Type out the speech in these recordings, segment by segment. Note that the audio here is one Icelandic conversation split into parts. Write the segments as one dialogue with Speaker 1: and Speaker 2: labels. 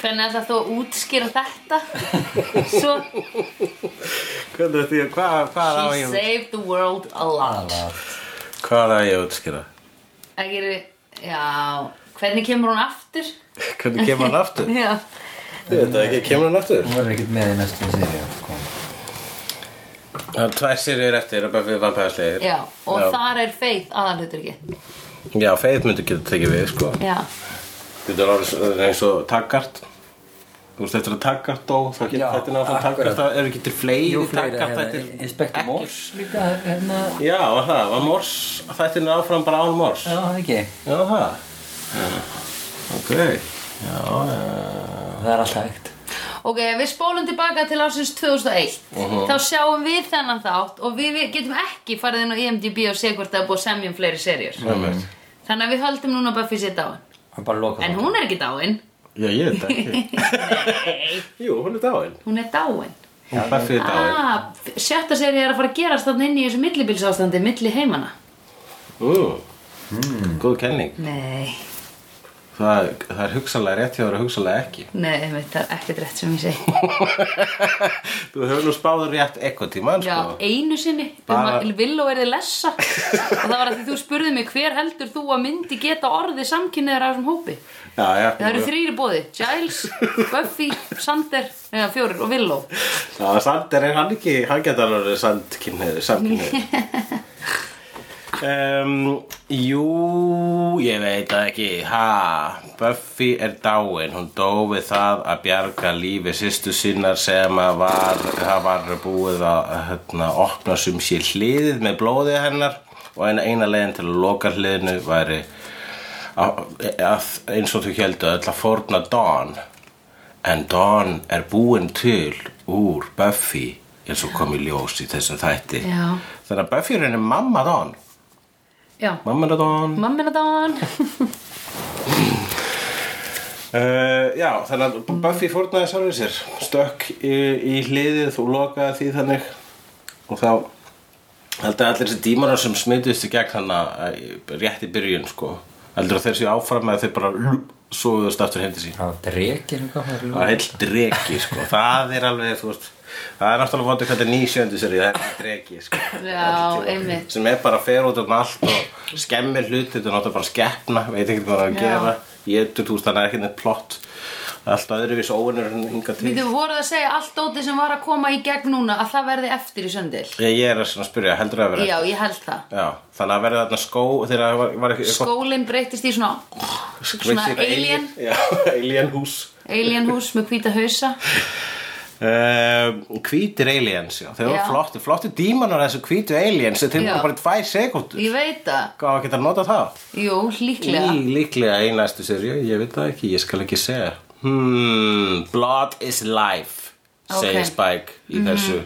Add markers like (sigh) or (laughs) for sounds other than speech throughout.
Speaker 1: Hvernig ætlar þú að útskýra (laughs) þetta? Svo,
Speaker 2: Hvernig þetta ég, hvað, hvað á
Speaker 1: he
Speaker 2: ég
Speaker 1: saved the world a lot.
Speaker 2: Hvað á ég að útskýra?
Speaker 1: Ekki eru, já, hvernig kemur hún aftur?
Speaker 2: Hvernig kemur hann
Speaker 1: (laughs)
Speaker 2: aftur?
Speaker 1: Já,
Speaker 3: Þetta ekki, kemur hann aftur?
Speaker 4: Hún var ekkert með í næstu séri sko.
Speaker 2: Það er tvær sérjur eftir að Buffy vampæðslegir
Speaker 1: já, og
Speaker 2: Já.
Speaker 1: þar er feið aðalhutur ekki.
Speaker 2: Já, feið myndi geta tekið við, sko
Speaker 1: Já,
Speaker 2: Þetta er orðið svo- eins og taggart Þú veist, eftir að taggart dó þá
Speaker 4: Já,
Speaker 2: getur þetta náttúrulega
Speaker 4: akkurat.
Speaker 2: taggart Það eru ekki til fleiri
Speaker 4: Jú, fleiri
Speaker 2: taggart
Speaker 4: hérna,
Speaker 2: þættir.
Speaker 4: Inspektor
Speaker 2: ekki-
Speaker 4: Morse líka hérna
Speaker 2: Já, var það, var mors þættin áfram bara án mors
Speaker 4: Já, það ekki
Speaker 2: Já, það Ok Já, já
Speaker 4: Það er alltaf hægt
Speaker 1: ok, við spólum tilbaka til ásins 2001. Þá sjáum við þennan þátt og við, við getum ekki farið inn á E IMDb og sé hvort það er búið að semja um fleiri serjur.
Speaker 2: mm.
Speaker 1: Þannig að við höldum núna Buffy sér dáin.
Speaker 4: Það er bara að loka
Speaker 1: En hún er ekki dáin.
Speaker 2: Já, ég veit það ekki
Speaker 1: (laughs) Nei,
Speaker 2: Jú, hún er dáin
Speaker 1: hún er dáin.
Speaker 2: Hún Buffy er dáin
Speaker 1: Ah, sjötta serið er að fara að gerast þarna inn í þessu millibilsástandi, milli heimana.
Speaker 2: Ú, Góð kenning
Speaker 1: Nei,
Speaker 2: Það, það er hugsanlega rétt hjá þér og hugsanlega ekki
Speaker 1: nei, einmitt, það er ekkert rétt sem ég segi.
Speaker 2: Þú hefur nú spáður rétt eitthvað tíma
Speaker 1: Já,
Speaker 2: sko.
Speaker 1: einu sinni,
Speaker 2: Bara-
Speaker 1: Bara... um að Villó er þið lessa. og það var að því þú spurði mig hver heldur þú að myndi geta orðið samkynniður af þessum hópi.
Speaker 2: Já, já
Speaker 1: Það eru þrýri bóði, Giles, Buffy, Sander, eða fjórir og Villó.
Speaker 2: Já, Sander er hann ekki, hann geta alveg verið sandkynniður, samkynniður. um, jú, ég veit það ekki, ha, Buffy er dáin, hún dó við það að bjarga lífi sýstu sinnar sem að var, það var búið að hérna, opna sem sé hliðið með blóðið hennar og eina, eina leiðin til að loka hliðinu væri að, að, eins og þú heldur að ætla að forna Dawn En Dawn er búin til úr Buffy eins og kom í ljós í þessum þætti.
Speaker 1: Já.
Speaker 2: Þannig að Buffy er henni mamma Dawn.
Speaker 1: Já,
Speaker 2: Mamma Dawn.
Speaker 1: mammina dáin.
Speaker 2: Uh, já, þannig að Buffy fórnaði sjálfur sér. Stökk í, í hliðið og lokaði því þannig. Og þá held að allir þessi dímarar sem smituðist í gegn þannig rétt í byrjun, sko. Heldur að þeir séu áfram með að þeir bara svoðust aftur heim til sín.
Speaker 4: Það var drekir eitthvað það er
Speaker 2: Það er
Speaker 4: alveg-
Speaker 2: heill dregi, sko. Það er alveg, þú veist, það er náttúrulega vondur hvað þetta er ný sjöndu seri, það er heill dregi, sko.
Speaker 1: Já, einmitt.
Speaker 2: Sem er bara að fer út um allt og skemmir hluti, þetta er náttúrulega bara skeppna, veit ekkert hvað það er að
Speaker 1: Já.
Speaker 2: gera. Ég þú veist, þannig er ekkert neitt plott. Það er Alltaf öðruvís óvinnur hann hinga til.
Speaker 1: Við þau voruð að segja allt óti sem var að koma í gegn núna að það verði eftir í söndil.
Speaker 2: Ég, ég er að svona spyrja, heldur það að vera?
Speaker 1: Já, ég held það.
Speaker 2: Já, þannig að verða þarna skó þegar það var, var ekki...
Speaker 1: Skólinn breytist í svona, svona
Speaker 2: Skvissir-
Speaker 1: alien,
Speaker 2: (laughs) Já, alien hús.
Speaker 1: alien hús með hvíta hausa.
Speaker 2: Um, hvítir aliens, já. Þeir voru
Speaker 1: Já.
Speaker 2: flotti, flotti dímanar þessu hvítu aliens, þeir
Speaker 1: Já.
Speaker 2: voru bara í tvær sekundur.
Speaker 1: Ég veit það.
Speaker 2: Hvað geta nota það?
Speaker 1: Jú, líklega.
Speaker 2: Í líklega í næstu serju, ég veit það ekki, ég skal ekki segja Hmm, blood is life
Speaker 1: Ok. Mhm.
Speaker 2: segir Spike í þessu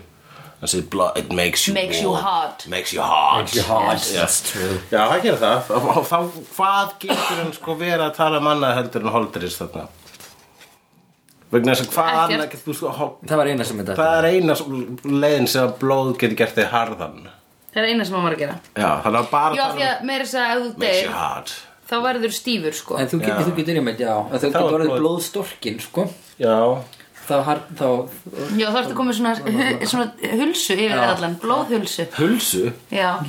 Speaker 2: hann segir blood, it makes you
Speaker 1: Makes you
Speaker 2: warm,
Speaker 1: hot.
Speaker 2: makes you hot
Speaker 4: Your heart,
Speaker 2: Yes.
Speaker 4: that's true
Speaker 2: Já, það gerir það og, og þá, hvað getur hann sko verið að tala um annað heldur en Holderis þarna vegna þess að hvað
Speaker 1: Ekkert.
Speaker 2: annað getur þú sko ho-
Speaker 4: Það var eina sem þetta
Speaker 2: það er eina svo- leiðin sem að blóð getur gert þig harðan
Speaker 1: Það er eina sem maður var að gera.
Speaker 2: Já, þannig að bara
Speaker 1: Já,
Speaker 2: tala
Speaker 1: því
Speaker 2: um
Speaker 1: að meira þess að ef þú
Speaker 2: makes you
Speaker 1: deyr,
Speaker 2: hot
Speaker 1: þá verður stífur, sko.
Speaker 4: En þú
Speaker 2: Já.
Speaker 4: getur, þú getur einmitt, já En þú
Speaker 2: Það var
Speaker 4: getur orðið
Speaker 2: blóð.
Speaker 4: blóðstorkin, sko
Speaker 2: Já,
Speaker 4: Þá, har, þá
Speaker 1: Já, þá ertu komið svona, (laughs) svona hulsu yfir allan, blóðhulsu.
Speaker 2: hulsu
Speaker 1: Já,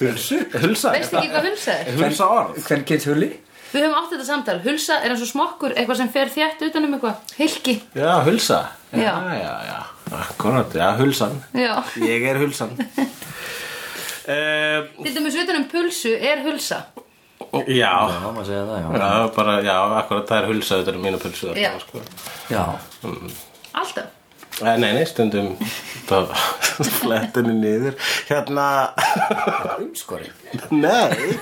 Speaker 2: Hulsu? Hulsa?
Speaker 1: veist ekki hvað hulsa er?
Speaker 2: Hulsa orð?
Speaker 4: Hvern kynnt huli?
Speaker 1: Við höfum átt þetta samtal. Hulsa er eins og smokkur, eitthvað sem fer þjætt utan um eitthvað. Hilki.
Speaker 2: Já, hulsa
Speaker 1: Já.
Speaker 2: Já, já, já Akkurat, já, hulsan
Speaker 1: Já.
Speaker 2: Ég er hulsan uh,
Speaker 1: Til dæmis utan um pulsu er hulsa.
Speaker 2: Eh, Já
Speaker 4: Já, maður segja það, já
Speaker 2: Já, bara, já, akkurat það er hulsa Þetta er mínu pulsu þarna,
Speaker 1: Já.
Speaker 2: sko.
Speaker 4: Já,
Speaker 1: Alltaf.
Speaker 2: Eh, Nei, nei, stundum (laughs) Það flettinu niður Hérna (laughs)
Speaker 4: umskori
Speaker 2: Nei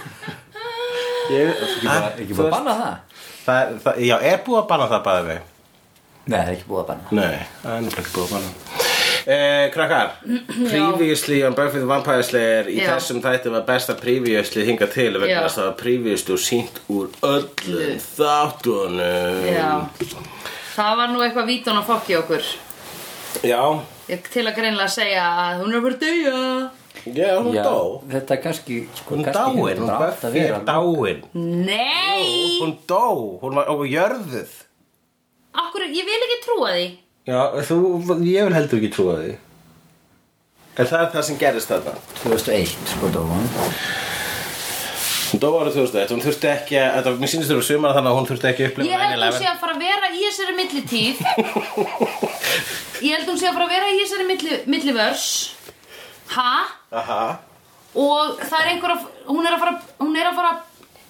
Speaker 2: Ég,
Speaker 4: Ekki búið að banna það?
Speaker 2: það, er- það, já, er búið að banna það bæði við
Speaker 4: Nei, það er ekki búið að banna
Speaker 2: Nei, það er nefnilega ekki búið að banna Eh,
Speaker 1: (clears throat)
Speaker 2: krakkar, previously on Buffy the Vampire Slayer í
Speaker 1: Já.
Speaker 2: þessum þætti var besta previously hingað til
Speaker 1: Já.
Speaker 2: vegna þess að það var previously og sínt úr öllum þáttunum
Speaker 1: Já. Það var nú eitthvað vítun að fokki okkur.
Speaker 2: Já,
Speaker 1: Ég til að greinlega segja að hún er bara að döja.
Speaker 2: já, hún
Speaker 4: Já,
Speaker 2: dó
Speaker 4: þetta er kannski, sko,
Speaker 2: Hún
Speaker 4: kannski
Speaker 2: dáin, hún
Speaker 4: bara átt
Speaker 2: Buffy
Speaker 4: að
Speaker 2: er
Speaker 4: vera-
Speaker 2: dáin
Speaker 1: Nei!
Speaker 2: Hún dó, hún var og jörðuð
Speaker 1: Akkur, ég vil ekki trúa því
Speaker 2: Já, þú, ég vil heldur ekki trúa því En það er það sem gerist þarna
Speaker 4: 2001 sko dóan
Speaker 2: Hún dó árið 2001, hún þurfti ekki að, þetta, mér sýnist þér á sumar þannig að hún þurfti ekki að upplifa
Speaker 1: Ég held hún
Speaker 2: venjulega-
Speaker 1: sé að fara að vera í þessari millitíð Ég held hún sé að fara að vera í þessari milli, millivörs Ha?
Speaker 2: Aha,
Speaker 1: Og það er einhver að, hún er að fara, hún er að fara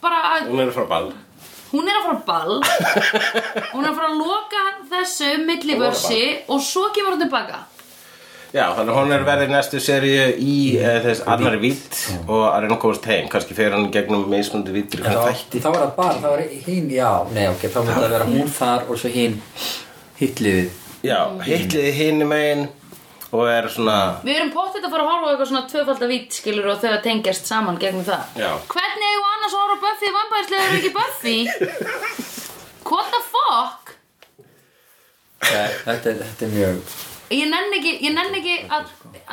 Speaker 1: bara að,
Speaker 2: hún er frá ball
Speaker 1: hún er að fara á ball Hún er að fara að loka þessu millivörsi og svo kemur hún tilbaka
Speaker 2: Já, þannig að hún er verið næstu seríu í eh, þess annari vitt og að reyna að komast heim, kannski fer hann í gegnum meismundi vittir
Speaker 4: þá,
Speaker 2: hvernig þætti
Speaker 4: þá var það bara, þá var hinn, já, nei ok þá myndi að vera hún þar og svo hinn hitliðið
Speaker 2: Já, hitliði hinn megin og er svona
Speaker 1: Við erum pottet að fara að horfa á eitthvað svona tvöfalda vít skilur og þau að tengjast saman gegnum það
Speaker 2: Já.
Speaker 1: Hvernig eigum við annars að horfa á Buffy vampærslega eru ekki Buffy? What the fuck?
Speaker 4: þetta, er- þetta er mjög
Speaker 1: Ég nenn ekki, ég nenn ekki að,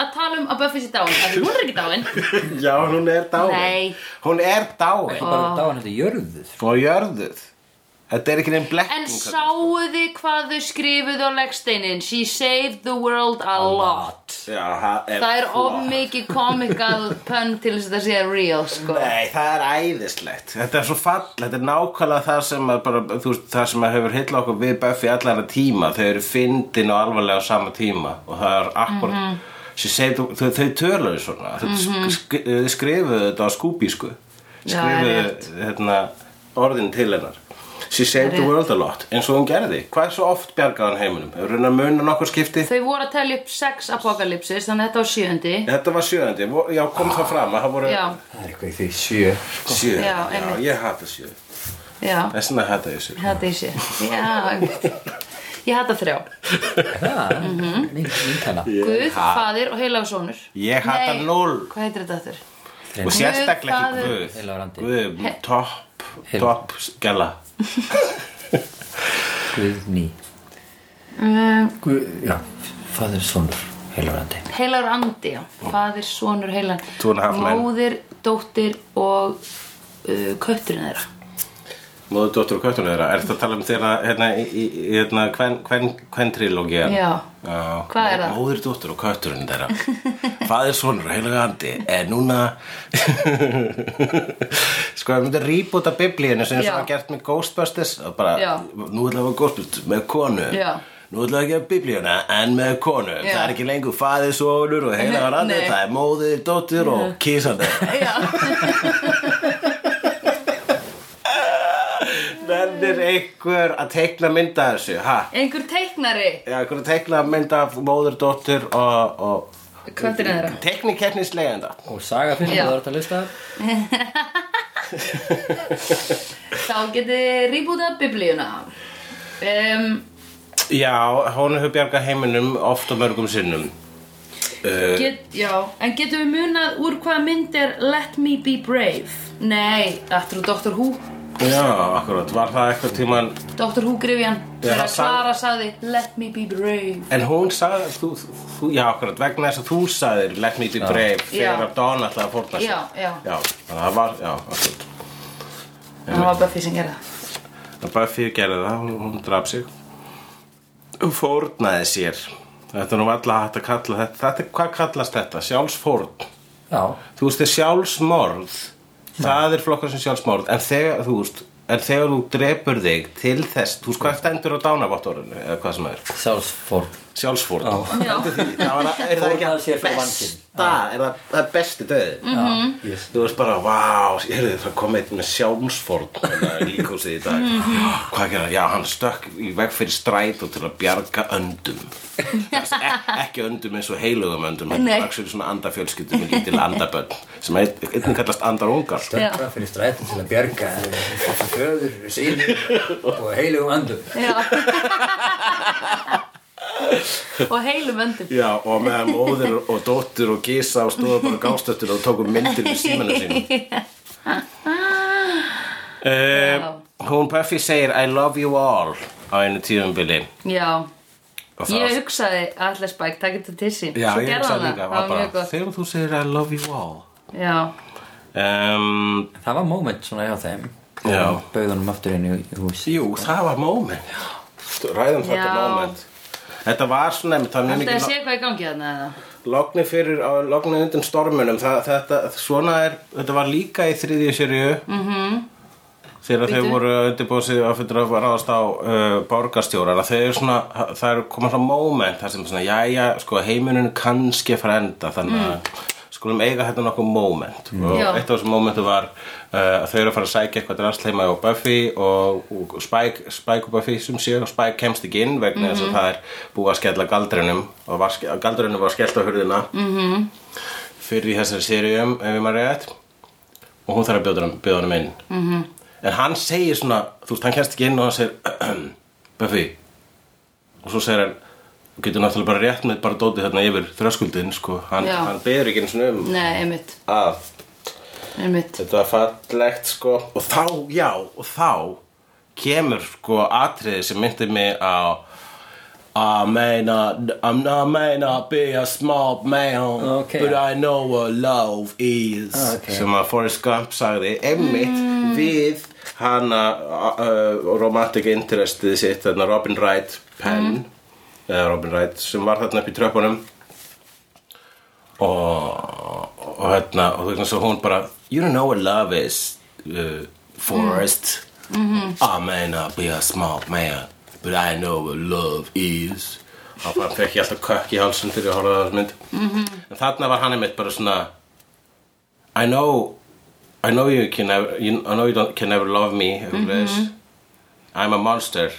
Speaker 1: að tala um að Buffy sé dáin af því Hún er ekki dáin
Speaker 2: (laughs) Já, hún er dáin
Speaker 1: Nei.
Speaker 2: Hún er dáin
Speaker 4: bara dáan þetta jörðuð
Speaker 2: og jörðuð Þetta er ekki neinn blekking
Speaker 1: En
Speaker 2: sko.
Speaker 1: sáuði hvað þau skrifuðu á leggsteinin She saved the world a lot
Speaker 2: Já, það er
Speaker 1: Það er of
Speaker 2: flott.
Speaker 1: mikið
Speaker 2: (laughs)
Speaker 1: comical pun til þess að það sé real sko
Speaker 2: Nei, það er æðislegt Þetta er svo fall, þetta er nákvæmlega það sem að bara, þú veist, það sem að hefur hitla okkur við Buffy allan að tíma, þau eru fyndin og alvarlega á sama tíma og það er akkur
Speaker 1: Mhm.
Speaker 2: mm -hmm. þau, þau töluðu svona þau mm -hmm. skrifuðu þetta á skúbísku
Speaker 1: Já, það er
Speaker 2: skrifuðu hérna, orðin til hennar She saved the world a lot, eins og hún gerði Hvað er svo oft bjargaðan heiminum? Hefur hún að muna nokkur skipti?
Speaker 1: Þau voru að telja upp sex apokalypsis Þannig að þetta var sjöndi
Speaker 2: Þetta var sjöðandi, já kom það fram að það voru
Speaker 1: Já,
Speaker 4: það er eitthvað í því sjö
Speaker 2: sjö,
Speaker 1: Já,
Speaker 2: já,
Speaker 1: einmitt.
Speaker 2: ég hata sjö
Speaker 1: já
Speaker 2: Þess vegna hata ég sjö
Speaker 1: Hata ég sé Já, einmitt. ég hata þrjá
Speaker 4: það,
Speaker 1: Mhm.
Speaker 4: nýntana
Speaker 1: Guð, faðir og heilagur sonur
Speaker 2: Ég hata
Speaker 1: Nei,
Speaker 2: núll.
Speaker 1: Hvað heitir þetta aftur?
Speaker 2: Og sérstaklega
Speaker 1: Guð,
Speaker 2: ekki
Speaker 4: Heila
Speaker 2: Guð
Speaker 4: randi.
Speaker 2: Guð,
Speaker 1: He-
Speaker 2: topp,
Speaker 4: Heila.
Speaker 2: topp skella
Speaker 4: Guðný
Speaker 1: Um,
Speaker 4: Guð, já, fadur sonur heilurandi
Speaker 1: heilagur andi, já Faðir, sonur, heilagur
Speaker 2: Two and a half men.
Speaker 1: Móðir, dóttir og uh, kötturinn
Speaker 2: (laughs)
Speaker 1: þeirra
Speaker 2: Móðu dóttur og köttunum þeirra Er þetta að tala um þeirra hérna, í, í, í- hérna, hvern, hvern, hvern trilógia
Speaker 1: Já. Hvað er það?
Speaker 2: Móður dóttur og kötturinn þeirra Faðir sonur og heilaga andi En núna (laughs) Sko, við myndum rýbúta biblíunni sem
Speaker 1: Já.
Speaker 2: það gert með Ghostbusters og bara,
Speaker 1: Já.
Speaker 2: nú ætlaðu að hafa Ghostbusters með konu
Speaker 1: Já.
Speaker 2: Nú ætlaðu ekki að biblíuna en með konu
Speaker 1: Já.
Speaker 2: Það er ekki lengur faðir sonur og heilaga andi
Speaker 1: Nei.
Speaker 2: Það er móður, dóttur og
Speaker 1: (laughs)
Speaker 2: kísandi
Speaker 1: Já,
Speaker 2: Verður einhver að teikna mynda þessu, ha?
Speaker 1: einhver teiknari
Speaker 2: Já, einhver að teikna mynda af móður, dóttur og... og
Speaker 1: Kötturinn þeirra
Speaker 2: Teknikernislegenda.
Speaker 4: og saga finnum
Speaker 1: Já.
Speaker 4: það var þetta að lista
Speaker 1: Þá getið rýbútað biblíuna um,
Speaker 2: Já, hún hefur bjargað heiminum oft og mörgum sinnum. Eh.
Speaker 1: Get, já, en getum við munað úr hvaða mynd er Let Me Be Brave? Nei, þetta er Dr. Who
Speaker 2: Já, akkurat, var það eitthvað tíman...
Speaker 1: Dr. Who grifjan Þegar
Speaker 2: það sagði-
Speaker 1: Sara sagði Let Me Be Brave
Speaker 2: En hún sagði, þú, þú, já, akkurat, vegna þess að þú sagðir Let me be brave þegar
Speaker 1: Já.
Speaker 2: að Don ætlaði að fórna sig.
Speaker 1: Já, já.
Speaker 2: Já, þannig að það var, já, akkurat.
Speaker 1: Það var Buffy sem gerði það
Speaker 2: Það bara fyrirgerði það, hún, hún draf sig Hún fórnaði sér Þetta er nú alltaf hægt að kalla þetta, þetta Hvað kallast þetta? Sjálfsfórn
Speaker 4: já,
Speaker 2: Þú veist, þegar sjálfsmorð Það er flokkar sem sjálfsmorð En þegar þú veist En þegar þú drepur þig til þess, þú veist hvað stendur á dánavottorinu eða hvað sem það er,
Speaker 4: sjálfsfórn
Speaker 2: sjálfsfórn.
Speaker 1: Já,
Speaker 2: Það var, er það ekki
Speaker 4: Fórnaði
Speaker 2: að
Speaker 4: sér fyrir
Speaker 2: besta, er það, það er besti döðið.
Speaker 1: Mhm.
Speaker 4: mm -hmm.
Speaker 2: Þú veist bara, vá, heyrðu, það kom eitt með sjálfsfórn líkúsið í dag
Speaker 1: Mhm.
Speaker 2: Hvað gerði hann? Já, hann stökk í veg fyrir stræt og til að bjarga öndum Þess, ek, Ekki öndum eins og heilugum öndum
Speaker 1: Nei.
Speaker 2: Það er svona andafjölskyldum með lítil andabönn sem ein- einnig kallast andarungar
Speaker 1: Já.
Speaker 4: bara fyrir stræti til að bjarga föður, (laughs) sín og heilugum andum
Speaker 2: (laughs)
Speaker 1: já Og heilum öndum
Speaker 2: Já, og meðan móðir og dóttur og gísa og stóða bara gástöttur og tóku myndir með símanu sínum
Speaker 1: (laughs)
Speaker 2: uh, Hún Buffy segir I love you all á einu tíðumbili
Speaker 1: Já, ég hugsaði Allar Spike, takk þetta til sín
Speaker 2: Já,
Speaker 1: Svo
Speaker 2: ég
Speaker 1: gerði
Speaker 2: hugsaði
Speaker 1: hann
Speaker 2: líka,
Speaker 1: það,
Speaker 2: var
Speaker 1: það var
Speaker 2: bara,
Speaker 1: mjög gott
Speaker 2: Þegar þú segir I love you all
Speaker 1: Já,
Speaker 2: um,
Speaker 4: það var moment svona hjá þeim
Speaker 2: Já.
Speaker 4: bauðunum aftur inn í hús
Speaker 2: Jú, það var moment st- ræðum þetta
Speaker 1: Já.
Speaker 2: moment Þetta var svona, einmitt, það er mjög
Speaker 1: Þetta
Speaker 2: mikið
Speaker 1: sé hvað í gangi þarna eða?
Speaker 2: Logni fyrir, á logni undan stormunum það, þetta, svona er, þetta var líka í þriðju sériu mm -hmm. þegar þau
Speaker 1: Bíddu.
Speaker 2: voru undirbúsið að fyrir að ráðast á uh, borgarstjórar að þau eru svona, það er koma svona moment þar sem svona, jæja, sko heimurinn er kannski að fara að enda þannig að skulum eiga þetta nokkuð moment og
Speaker 1: Mm. Já.
Speaker 2: eitt af þessum momentu var uh, að þau eru að fara að sækja eitthvað drasl heima á Buffy og, og Spike, Spike og Buffy sem séu og Spike kemst ekki inn vegna þess
Speaker 1: Mhm.
Speaker 2: að það er búið að skella galdrinum og var, ske- galdrinum var skellt á hurðina mm
Speaker 1: Mhm.
Speaker 2: -hmm. fyrir í þessari seríum ef ég maður rétt og hún þarf að bjóða honum- bjóða honum inn mm
Speaker 1: Mhm.
Speaker 2: -hmm. en hann segir svona, þú veist, hann kemst ekki inn og hann segir (clears throat) Buffy og svo segir hann þú getur náttúrulega bara rétt með bara dótið þarna yfir þröskuldin sko, hann,
Speaker 1: Já.
Speaker 2: hann beður ekki eins og um
Speaker 1: Nei, einmitt,
Speaker 2: að
Speaker 1: einmitt
Speaker 2: þetta var fallegt sko og þá, já, og þá kemur sko atriði sem myndi mig á I may not, I'm not, may not be a smart man
Speaker 4: Ok.
Speaker 2: But I know what love is
Speaker 4: Ok.
Speaker 2: Sem að Forrest Gump sagði Emmitt við hana uh, romantic interestið sitt Þarna Robin Wright Penn Eða Robin Wright sem var þarna upp í tröppunum og, og hérna og þú veist svo hún bara you don't know what love is uh, Forrest I may not be a smart man but I know what love is og bara fekk ég alltaf kökk í hálsum fyrir að horfa á þessu mynd en þarna var hann einmitt bara svona I know I know you can never you, I know you don't, can never love me
Speaker 1: Mm-hmm.
Speaker 2: mm -hmm. I'm a monster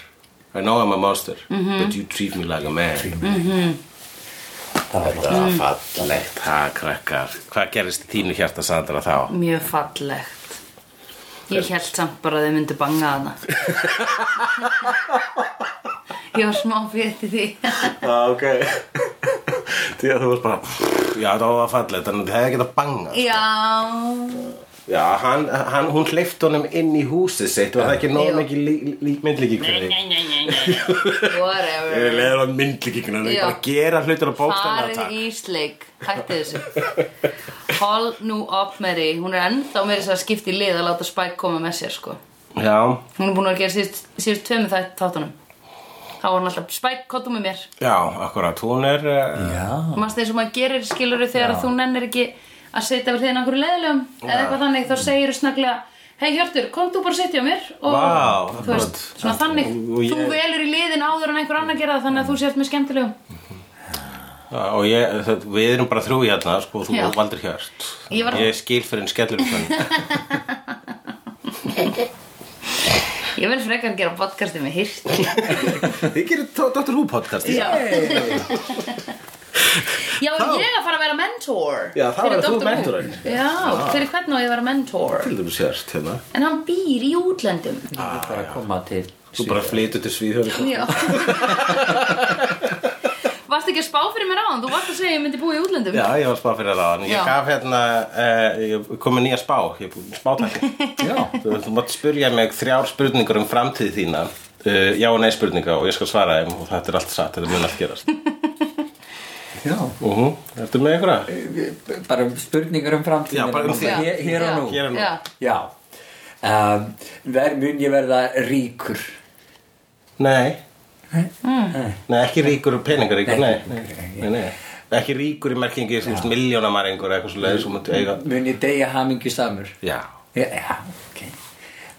Speaker 2: I know I'm a monster
Speaker 1: Mm-hmm.
Speaker 2: but you treat me like a man
Speaker 4: Það var
Speaker 2: Það
Speaker 1: Mm.
Speaker 2: var fallegt, það krakkar Hvað gerist í þínu hjarta Sandra
Speaker 1: (laughs)
Speaker 2: þá?
Speaker 1: Mjög fallegt Ég held samt bara að þau myndu banga (laughs) hana Ég var smá fyrir því
Speaker 2: Ah, ok Því að þú varst bara Já, það var fallegt, þannig að það hefði getað bangað
Speaker 1: Já
Speaker 2: Já, hann, hann, hún hleyft honum inn í húsið sitt og það ekki nóg
Speaker 1: Jú.
Speaker 2: mikið lí- lí- myndlíkikvöði
Speaker 1: Nei, nei, nei, nei (laughs) Whatever
Speaker 2: Ég leður á myndlíkikvöðinu
Speaker 1: Já.
Speaker 2: bara gera hlutur á bókstæðna
Speaker 1: Farið í sleik, hætti þessu Hall nú upp með því Hún er ennþá meira þess að skipta í lið að láta Spike koma með sér sko
Speaker 2: Já,
Speaker 1: Hún er búin að gera síðust, síðust tveimur þætt þáttunum Þá var hann alltaf Spike, kottu með mér
Speaker 2: já, akkurat, hún er uh,
Speaker 4: Já
Speaker 1: Mást eins og maður gerir skiluru þegar þú nennir ekki að setja við hliðin einhverju leðilegum eða eitthvað þannig, þá segir þú snaklega Hei Hjörtur, kom þú bara að setja á mér og
Speaker 2: Vá,
Speaker 1: þú veist,
Speaker 2: akkurat.
Speaker 1: svona þannig
Speaker 2: Og- og ég-
Speaker 1: þú velur í liðin áður en einhver annar gera það þannig að þú sért með skemmtilegum
Speaker 2: og ég, það, við erum bara þrjú hérna sko, þú
Speaker 1: Já.
Speaker 2: valdur hjörst
Speaker 1: Ég var-
Speaker 2: skil fyrir en skellur um þannig
Speaker 1: Ég vil frekar gera podcastið með hirti
Speaker 2: (laughs) Þið gerir Dr. Who podcast
Speaker 1: Já Já, er ég að fara að vera mentor
Speaker 2: Já,
Speaker 1: fyrir
Speaker 2: þá verður
Speaker 1: Dr.
Speaker 2: þú
Speaker 1: Who?
Speaker 2: mentorinn. Ah.
Speaker 1: Já, fyrir hvern á ég að vera mentor
Speaker 2: Til þú sérst hérna
Speaker 1: En hann býr í útlöndum
Speaker 2: Ah,
Speaker 4: Það var að koma
Speaker 1: (laughs)
Speaker 4: til
Speaker 2: Þú bara flytur til sko. Svíðhjóri
Speaker 1: Já Varst ekki að spá fyrir mér áðan? Þú varst að segja að ég myndi búa í útlöndum
Speaker 2: Já, ég var að spá fyrir það en
Speaker 1: Já.
Speaker 2: Ég gaf hérna, uh, ég kom með nýja spá Ég er búinn með spátækni
Speaker 1: (laughs)
Speaker 4: Já
Speaker 2: Þú, þú mátt spyrja mig þrjár spurningar um framtíð þína uh, Já og nei spurninga og ég skal svara þeim og þetta er allt satt, þetta mun allt gerast
Speaker 4: Já
Speaker 2: uh Ertu með einhverja?
Speaker 4: Bara spurningar um framtíðina
Speaker 2: Já, bara um þig.
Speaker 4: Hér- Hér og
Speaker 2: Hér
Speaker 4: nú
Speaker 2: og nú.
Speaker 1: Já,
Speaker 4: Já um, Ver mun ég verða ríkur Eh,
Speaker 2: Nei
Speaker 1: Hmm.
Speaker 4: Nei.
Speaker 2: Nei, ekki ríkur og peningaríkur, nei,
Speaker 4: Nei,
Speaker 2: nei,
Speaker 4: peningaríkur,
Speaker 2: nei, nei. Ekki ríkur í merkingi, þú veist, miljónamaringur eitthvað svo leiðis og mútu eiga
Speaker 4: Mun ég deyja hamingju samur
Speaker 2: Já
Speaker 4: Mm. Já, já ok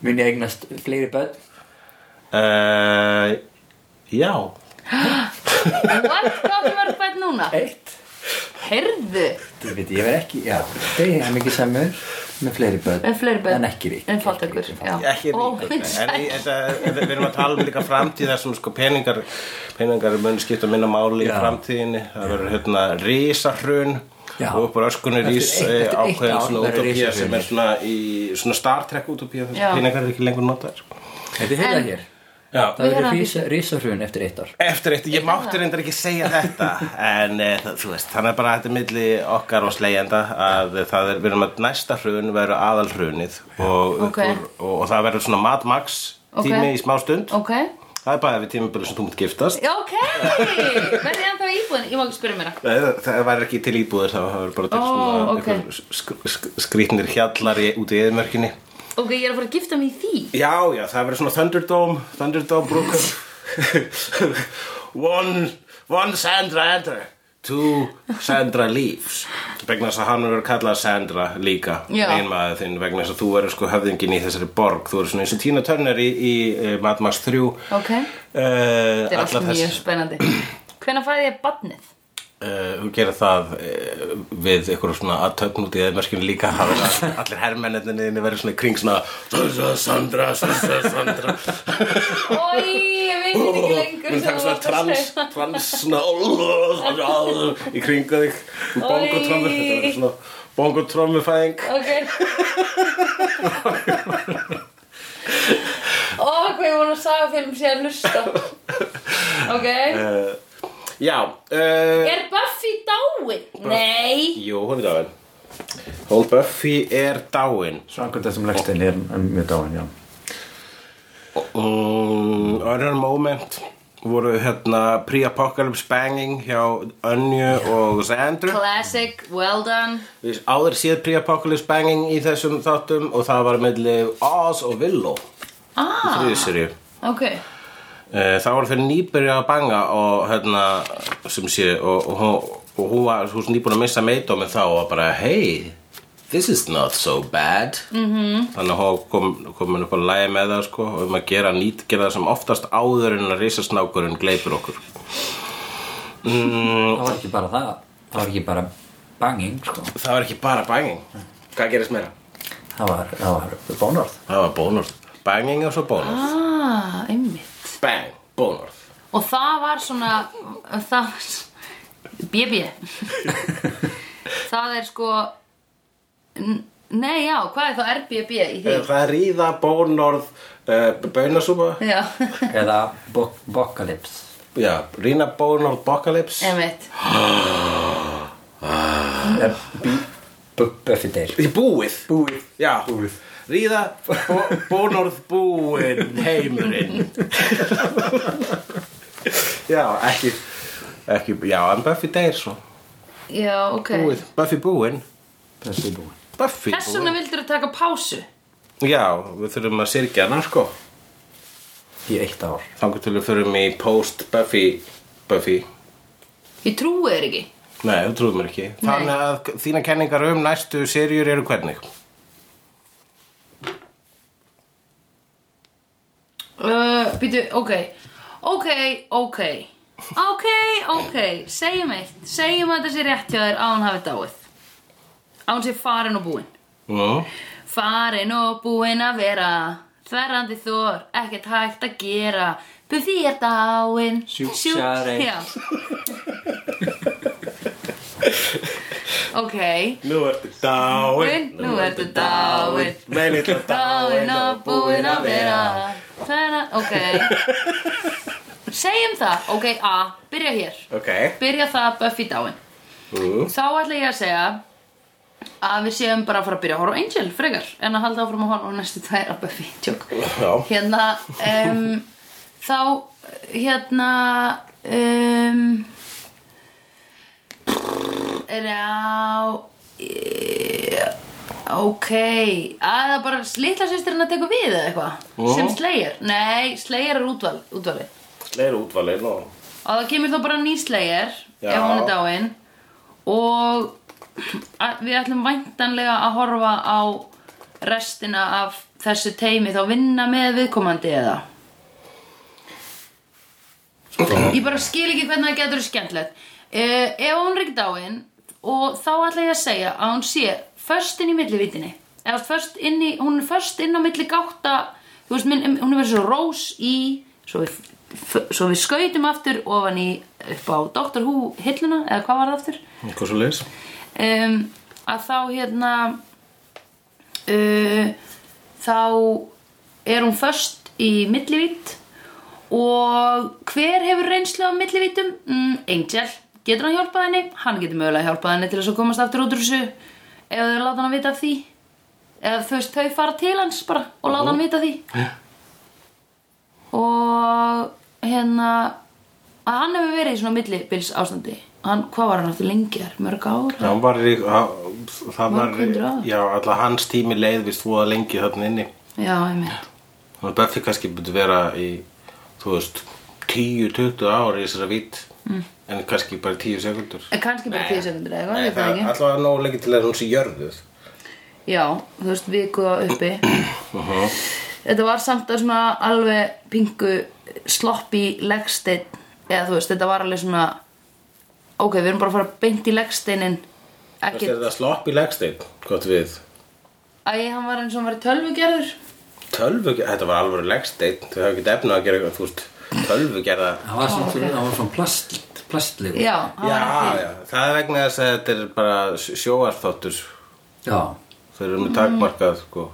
Speaker 4: Mun ég eignast fleiri börn
Speaker 2: uh, Já
Speaker 1: what? Hvað áttu mörg bætt núna?
Speaker 4: Eitt
Speaker 1: Heyrðu
Speaker 4: Ég veit, ég verð ekki, já Deyja hamingju samur með fleiri börn
Speaker 1: En fleiri börn
Speaker 4: En ekki rík
Speaker 1: En fátækur Já
Speaker 2: ekki
Speaker 1: Ó,
Speaker 2: ríkur en
Speaker 1: sæll.
Speaker 2: í- þetta, þetta, við erum að tala um líka framtíð þar sem sko peningar peningar mun skipta minna máli í
Speaker 4: Já.
Speaker 2: framtíðinni það verður hérna risahrun
Speaker 4: Já.
Speaker 2: og uppur öskunni
Speaker 4: Eftir
Speaker 2: rís
Speaker 4: eitt- eftir eitt
Speaker 2: ákveðin
Speaker 4: ár
Speaker 2: svona
Speaker 4: verður
Speaker 2: utopía sem
Speaker 4: risahrunið.
Speaker 2: er svona í svona Star Trek utopía þar
Speaker 1: Já.
Speaker 2: sem peningar er ekki lengur notaðir sko.
Speaker 4: Þetta er heyrða hér
Speaker 2: Já.
Speaker 4: Það
Speaker 1: Við
Speaker 4: verður
Speaker 1: erum
Speaker 4: risa- risarhrun eftir eitt ár
Speaker 2: Eftir eitt, ég mátti reyndar ekki segja þetta en e, það, þú veist, þannig er bara þetta er milli okkar og slegjenda að það er, við erum að næsta hrun verður aðalhrunið og,
Speaker 1: Ok.
Speaker 2: og, og, það verður svona Mad Max
Speaker 1: Ok.
Speaker 2: tími í smá stund
Speaker 1: Ok
Speaker 2: Það er bara við tímabili sem þú mútt giftast
Speaker 1: Já, ok Verðið ennþá í íbúðin Ég má ekki spyrja mér það
Speaker 2: Það, Eh, það var ekki til íbúðir þá, það var bara til
Speaker 1: Ó,
Speaker 2: svona
Speaker 1: ok.
Speaker 2: einhver sk sk skrýtnir hjallar í, út í eðmörkinni
Speaker 1: Ok, ég er að fara að gifta mig í því
Speaker 2: Já, já, það verður svona Thunderdome, Thunderdome brúkur one, one Sandra Andra Two Sandra Leaves vegna þess að hann verður kallað Sandra líka
Speaker 1: Já.
Speaker 2: einmaður þinn vegna þess að þú verður sko höfðingin í þessari borg þú verður svona eins og Tina Turner í, í eh, Mad Max 3 uh,
Speaker 1: Ok, þetta er allt
Speaker 2: allar
Speaker 1: mjög
Speaker 2: þess
Speaker 1: spennandi Hvenær fæði ég badnið?
Speaker 2: Uh, hún gera það uh, við eitthvað svona aðtöfn út í eðmerkinu líka Það er að allir hermenninni verður svona í kring svona Sandra, Sandra, Sandra, Sandra
Speaker 1: Ói, ég veit ekki lengur
Speaker 2: Mér
Speaker 1: sem
Speaker 2: taka
Speaker 1: þú varst
Speaker 2: svona
Speaker 1: að
Speaker 2: trans,
Speaker 1: segja.
Speaker 2: trans svona í kringa þig bongotrommur, þetta verður svona bongotrommufæðing
Speaker 1: Ok Ó, hvað ég vona að saga film sé að hlusta Ok
Speaker 2: Eh, Já, uh,
Speaker 1: Er Buffy dáin? Nei
Speaker 2: jú, hún er dáin Hún Buffy er dáin
Speaker 5: Svangur þessum legstein er um, mjög dáin, já.
Speaker 2: mm, Önnur moment voru hérna pre-apocalypse banging hjá Önju og Sandru
Speaker 1: Classic, well done
Speaker 2: Við áður séð pre-apocalypse banging í þessum þáttum og það var melli Oz og Willow
Speaker 1: Ah,
Speaker 2: þrjusirju
Speaker 1: ok
Speaker 2: Eh, Það voru fyrir nýbyrja að banga og hérna, sem sé, og, og, hún- og hún var hún nýbúin að missa meitdómið þá og bara, hey, this is not so bad. -hmm. Þannig að hún kom, komin upp að lægi með það, sko, um að gera nýtt, gera það sem oftast áður en að risasnákurinn gleipur okkur.
Speaker 4: það var ekki bara það það var ekki bara banging sko.
Speaker 2: Það var ekki bara banging. Hvað gerist meira?
Speaker 4: það var, það var bónorð
Speaker 2: Það var bónorð. Banging og svo bónorð.
Speaker 1: Ah, einmitt
Speaker 2: Bang, bónorð.
Speaker 1: Og það var svona Það var BB Það er sko N- Nei, já, hvað er þá RBB í því?
Speaker 2: Eh, Það er ríða, bónorð, uh, bönasúpa.
Speaker 1: Já, (laughs)
Speaker 4: eða bok bokalips
Speaker 2: Já, rína, bónorð, bokalips.
Speaker 1: einmitt
Speaker 4: Buffy deyr
Speaker 2: Í búið.
Speaker 4: búið
Speaker 2: Já,
Speaker 4: Búið.
Speaker 2: ríða bó, bónorð búin heimurinn Já, ekki, ekki Já, en Buffy deyr svo
Speaker 1: Já, ok
Speaker 2: búið. Buffy búin
Speaker 5: Þessi búin.
Speaker 2: Buffy
Speaker 1: Þess vegna vildur þú taka pásu
Speaker 2: búin Já, við þurfum að syrkja hana sko
Speaker 5: Í eitt ár.
Speaker 2: Þangur til við förum í post Buffy Buffy
Speaker 1: Ég trúi þér ekki
Speaker 2: Nei, þú trúðum mér ekki Þannig að þína kenningar um næstu serjur eru hvernig
Speaker 1: uh, Býtu, ok Ok, ok Ok, ok, segjum eitt Segjum að þetta sé rétt hjá þér að hún hafi dáið Að hún sé farin og búin
Speaker 2: mm.
Speaker 1: Farin og búin að vera Þverrandi þor, ekkert hægt að gera Buffy er dáin
Speaker 4: Sjúk
Speaker 1: Sjúk-
Speaker 4: sjari.
Speaker 1: Já Ok
Speaker 2: Nú ertu dáin
Speaker 1: Nú ertu dáin
Speaker 2: Meðin þetta
Speaker 1: Dáin og búin að vera Tæna, ok Segjum það, ok, A Byrja hér,
Speaker 2: Ok
Speaker 1: byrja það Buffy dáin
Speaker 2: mm.
Speaker 1: Þá ætla ég að segja að við séum bara að fara að byrja að horfa á Angel frekar en að halda áfram að horfa á næstu tvær að Buffy, tjók
Speaker 2: Já
Speaker 1: Hérna, um, þá hérna um, er á ok að það bara litla sýstirinn að teka við eða eitthvað sem Slayer, nei, Slayer er útval, útvali
Speaker 2: Leir útvalið og
Speaker 1: og það kemur þá bara ný Slayer
Speaker 2: Já.
Speaker 1: ef hún er dáin og að- við ætlum væntanlega að horfa á restina af þessu teimi þá vinna með viðkomandi eða ég bara skil ekki hvernig það getur skemmtilegt uh, ef hún er ekki dáin og þá ætla ég að segja að hún sé först inn í millivitinni eða först inn í, hún er först inn á milli gátta þú veist, minn, hún er verið svo rós í svo við, f- svo við skautum aftur ofan í upp á Doctor Who hilluna eða hvað var það aftur
Speaker 2: Eitthvað svo leis
Speaker 1: um, að þá hérna uh, þá er hún först í millivít og hver hefur reynslu af millivítum? Mm, Angel getur hann hjálpað henni? Hann getur mögulega hjálpað henni til þess að komast aftur út úr þessu ef þau láta hann vita af því eða þú veist þau fara til hans bara og láta hann vita af því og hérna að hann hefur verið í svona millibils ástandi hann, hvað var hann aftur lengjar? mörg ára?
Speaker 2: Það var, í- það- það
Speaker 1: Mörg hundruð
Speaker 2: var
Speaker 1: ár.
Speaker 2: já, alltaf hans tími leið við stóða lengi þarna inni
Speaker 1: Já, einmitt
Speaker 2: Þannig að Buffy kannski byrja vera í, þú veist, 10-20 ár í þessara vitt en kannski bara 10 sekundur
Speaker 1: En kannski Mm. bara
Speaker 2: Nei.
Speaker 1: 10 sekundur eða eitthvað,
Speaker 2: Nei,
Speaker 1: ég veit það
Speaker 2: það er
Speaker 1: ekki
Speaker 2: allavega nóg lengi til að hún sé jörðuð
Speaker 1: Já, þú veist, viku á
Speaker 2: (clears throat)
Speaker 1: uppi
Speaker 2: uh
Speaker 1: Þetta var samt að svona alveg pingu sloppy legstein eða þú veist, þetta var alveg svona ok, við erum bara að fara beint í legsteinin
Speaker 2: Þetta
Speaker 1: ekki,
Speaker 2: er þetta slopp í legstein, gott við
Speaker 1: æ, hann var eins og hann var í tölvugerður
Speaker 2: Tölvu, þetta var alveg legstein þau hafa ekki efna að gera eitthvað, þú veist tölvu gerða
Speaker 4: Það var svona, það var svona plast, plastlegur
Speaker 1: Já, hann
Speaker 2: Já,
Speaker 1: var ekki
Speaker 2: já, það er vegna þess að þetta er bara sjóarþáttur
Speaker 4: Já.
Speaker 2: þau eru með takmarkað, sko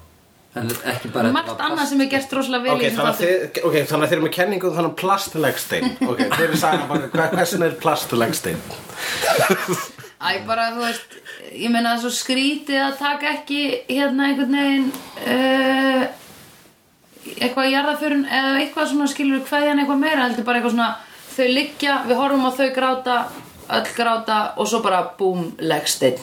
Speaker 4: En ekki bara þetta
Speaker 1: Margt
Speaker 4: var
Speaker 1: annað sem er gert rosalega vel
Speaker 2: Ok,
Speaker 1: í
Speaker 2: þannig að
Speaker 1: þáttum.
Speaker 2: þið, ok, þannig að þið eru með kenningu um þannig plastlegstein Ok, þið eru sagði bara hvað, hversin er plastlegstein
Speaker 1: Æ, bara þú veist, ég meina það er svo skrítið að taka ekki hérna einhvern veginn uh, eitthvað jarðaförun eða eitthvað svona skilur hverjan eitthvað meira heldur bara eitthvað svona þau liggja, við horfum á þau gráta öll gráta og svo bara búm legsteinn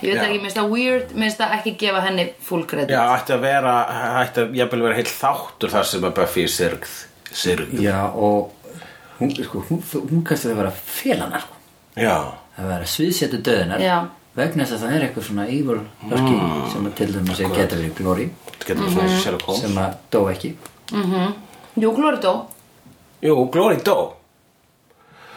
Speaker 1: ég veit
Speaker 2: Já.
Speaker 1: ekki, mér finnst það weird, mér finnst það ekki gefa henni full credit
Speaker 2: Já, ætti að vera, ætti að jafnvel vera heill þáttur þar sem að Buffy er sirgð Sirgð
Speaker 4: Já, og hún, sko, hún, hún kannski það vera félanar sko.
Speaker 2: Já
Speaker 4: Það vera sviðsetu döðunar
Speaker 1: Já.
Speaker 4: vegna þess að það er eitthvað svona evil örki sem að til dæmis er getur í glóri
Speaker 2: Þetta getur verið svona eins og Sherlock Holmes
Speaker 4: sem að dó ekki
Speaker 1: Jú, Glóritó,
Speaker 2: Jú, Glory Dó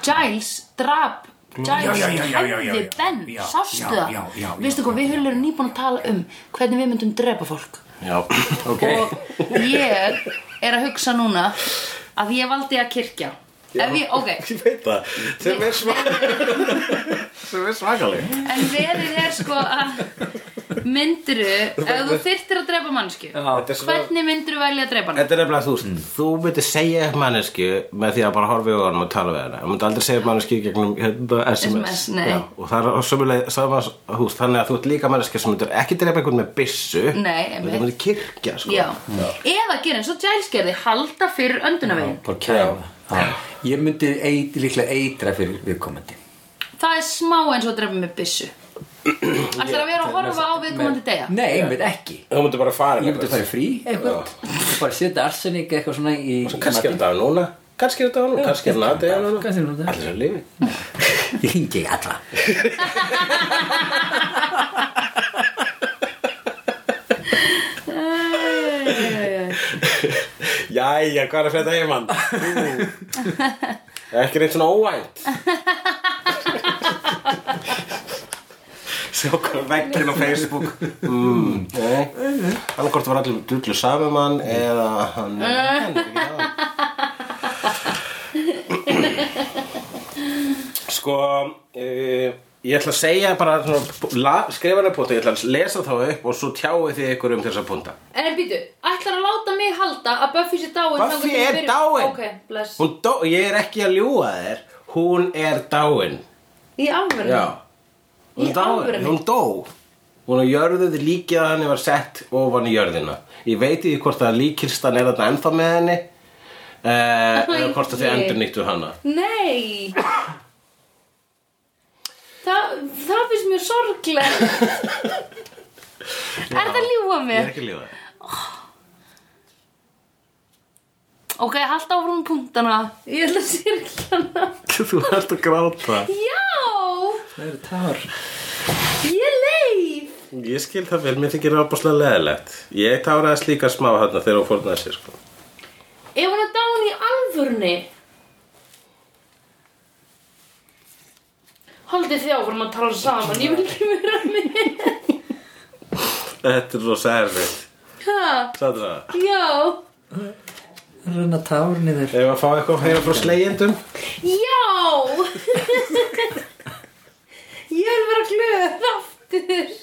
Speaker 1: Giles drap
Speaker 2: Mm.
Speaker 1: Giles hefði Ben, sástu það? Veistu hvað, við höllum erum nýbúin að tala um hvernig við myndum drepa fólk
Speaker 2: Já
Speaker 4: Ok,
Speaker 1: og ég er að hugsa núna að ég valdi að kirkja ef ég, ok,
Speaker 2: (laughs) Ég veit það, sem er svakaleg (laughs) Sem er svakaleg
Speaker 1: en verið er sko að myndiru ef þú þyrtir að drepa mannsku
Speaker 2: Þetta er svo-
Speaker 1: hvernig myndiru velja að drepa hann
Speaker 2: Þetta er nefnilega þú
Speaker 1: Mm.
Speaker 2: veist, þú myndir segja upp mannesku með því að bara horfa í orðum og tala við hana þú myndir aldrei segja upp mannesku gegnum hérna, SMS,
Speaker 1: SMS, nei.
Speaker 2: Já, og það er sömuleg, sama, húst, þannig að þú ert líka manneska sem myndir ekki drepa einhvern með byssu
Speaker 1: Nei, einmitt.
Speaker 2: þú myndir kirkja sko.
Speaker 1: Já. eða gera eins og Giles gerði halda fyrir öndunavegin
Speaker 4: bara kæfa Já. Ég myndi eit, líklega eitra fyrir viðkomandi
Speaker 1: það er smá eins og að drepa með byssu ætlar að vera að horfa á viðkomandi degja
Speaker 4: Nei, ég myndi ekki
Speaker 2: þú myndir bara fara
Speaker 4: Ég myndi fara í frí eitthvað og bara setja arsenik eitthvað svona í
Speaker 2: kannski er þetta á núna kannski er þetta á núna, kannski er þetta á núna
Speaker 4: Kannski er þetta á núna.
Speaker 2: allir sem lífi
Speaker 4: Ég hringi í alla
Speaker 2: Jæja, hvað er að frétta heimann? Ekki neitt svona óvænt Sjá hvað veggin á Facebook mm. Hann hvort var allir dullu samumann eða hann hann er ekki það. Sko uh, Ég ætla að segja bara svona, la, skrifa hana púnta, ég ætla að lesa þá upp og svo tjáu þið ykkur um þessa púnta
Speaker 1: en býtu, ætlar að láta mig halda að Buffy sé dáin
Speaker 2: Buffy
Speaker 1: þangað til hún
Speaker 2: er
Speaker 1: byrjar-
Speaker 2: dáin.
Speaker 1: ok, bless,
Speaker 2: Hún dó, ég er ekki að ljúga þér Hún er dáin
Speaker 1: í alveg
Speaker 2: Já Hún,
Speaker 1: Í
Speaker 2: er dáin.
Speaker 1: alvörunni?
Speaker 2: hún dó Hún á jörðuð líkið að henni var sett ofan í jörðina Ég veit ekki hvort að líkistan er þarna ennþá með henni eh, Eða hvort að þið
Speaker 1: Æi.
Speaker 2: endur nýttu hana
Speaker 1: Nei Þa, Það finnst mér sorglega Er það ljúa
Speaker 2: Ég er
Speaker 1: mér?
Speaker 2: ekki að ljúga þér
Speaker 1: Ok, halda áfram með punktana Ég ætla að sirkja hana
Speaker 2: Þú ert að gráta
Speaker 1: Já,
Speaker 4: Það eru tár
Speaker 1: ég leið
Speaker 2: Ég skil það vel, mér þykir rápaslega leðilegt Ég táraðist líka smá þarna þegar hún fórnaði sér sko.
Speaker 1: Ef hún er dáin í alvörni Haldið þið áfram að tala saman Ég vil ekki vera með (laughs)
Speaker 2: Þetta er rosa erfitt
Speaker 1: Ha,
Speaker 2: Sandra,
Speaker 1: Já
Speaker 4: Rönna tár niður
Speaker 2: ef að fá eitthvað að heyra frá slegjendum
Speaker 1: Já Ég vil vera glöð aftur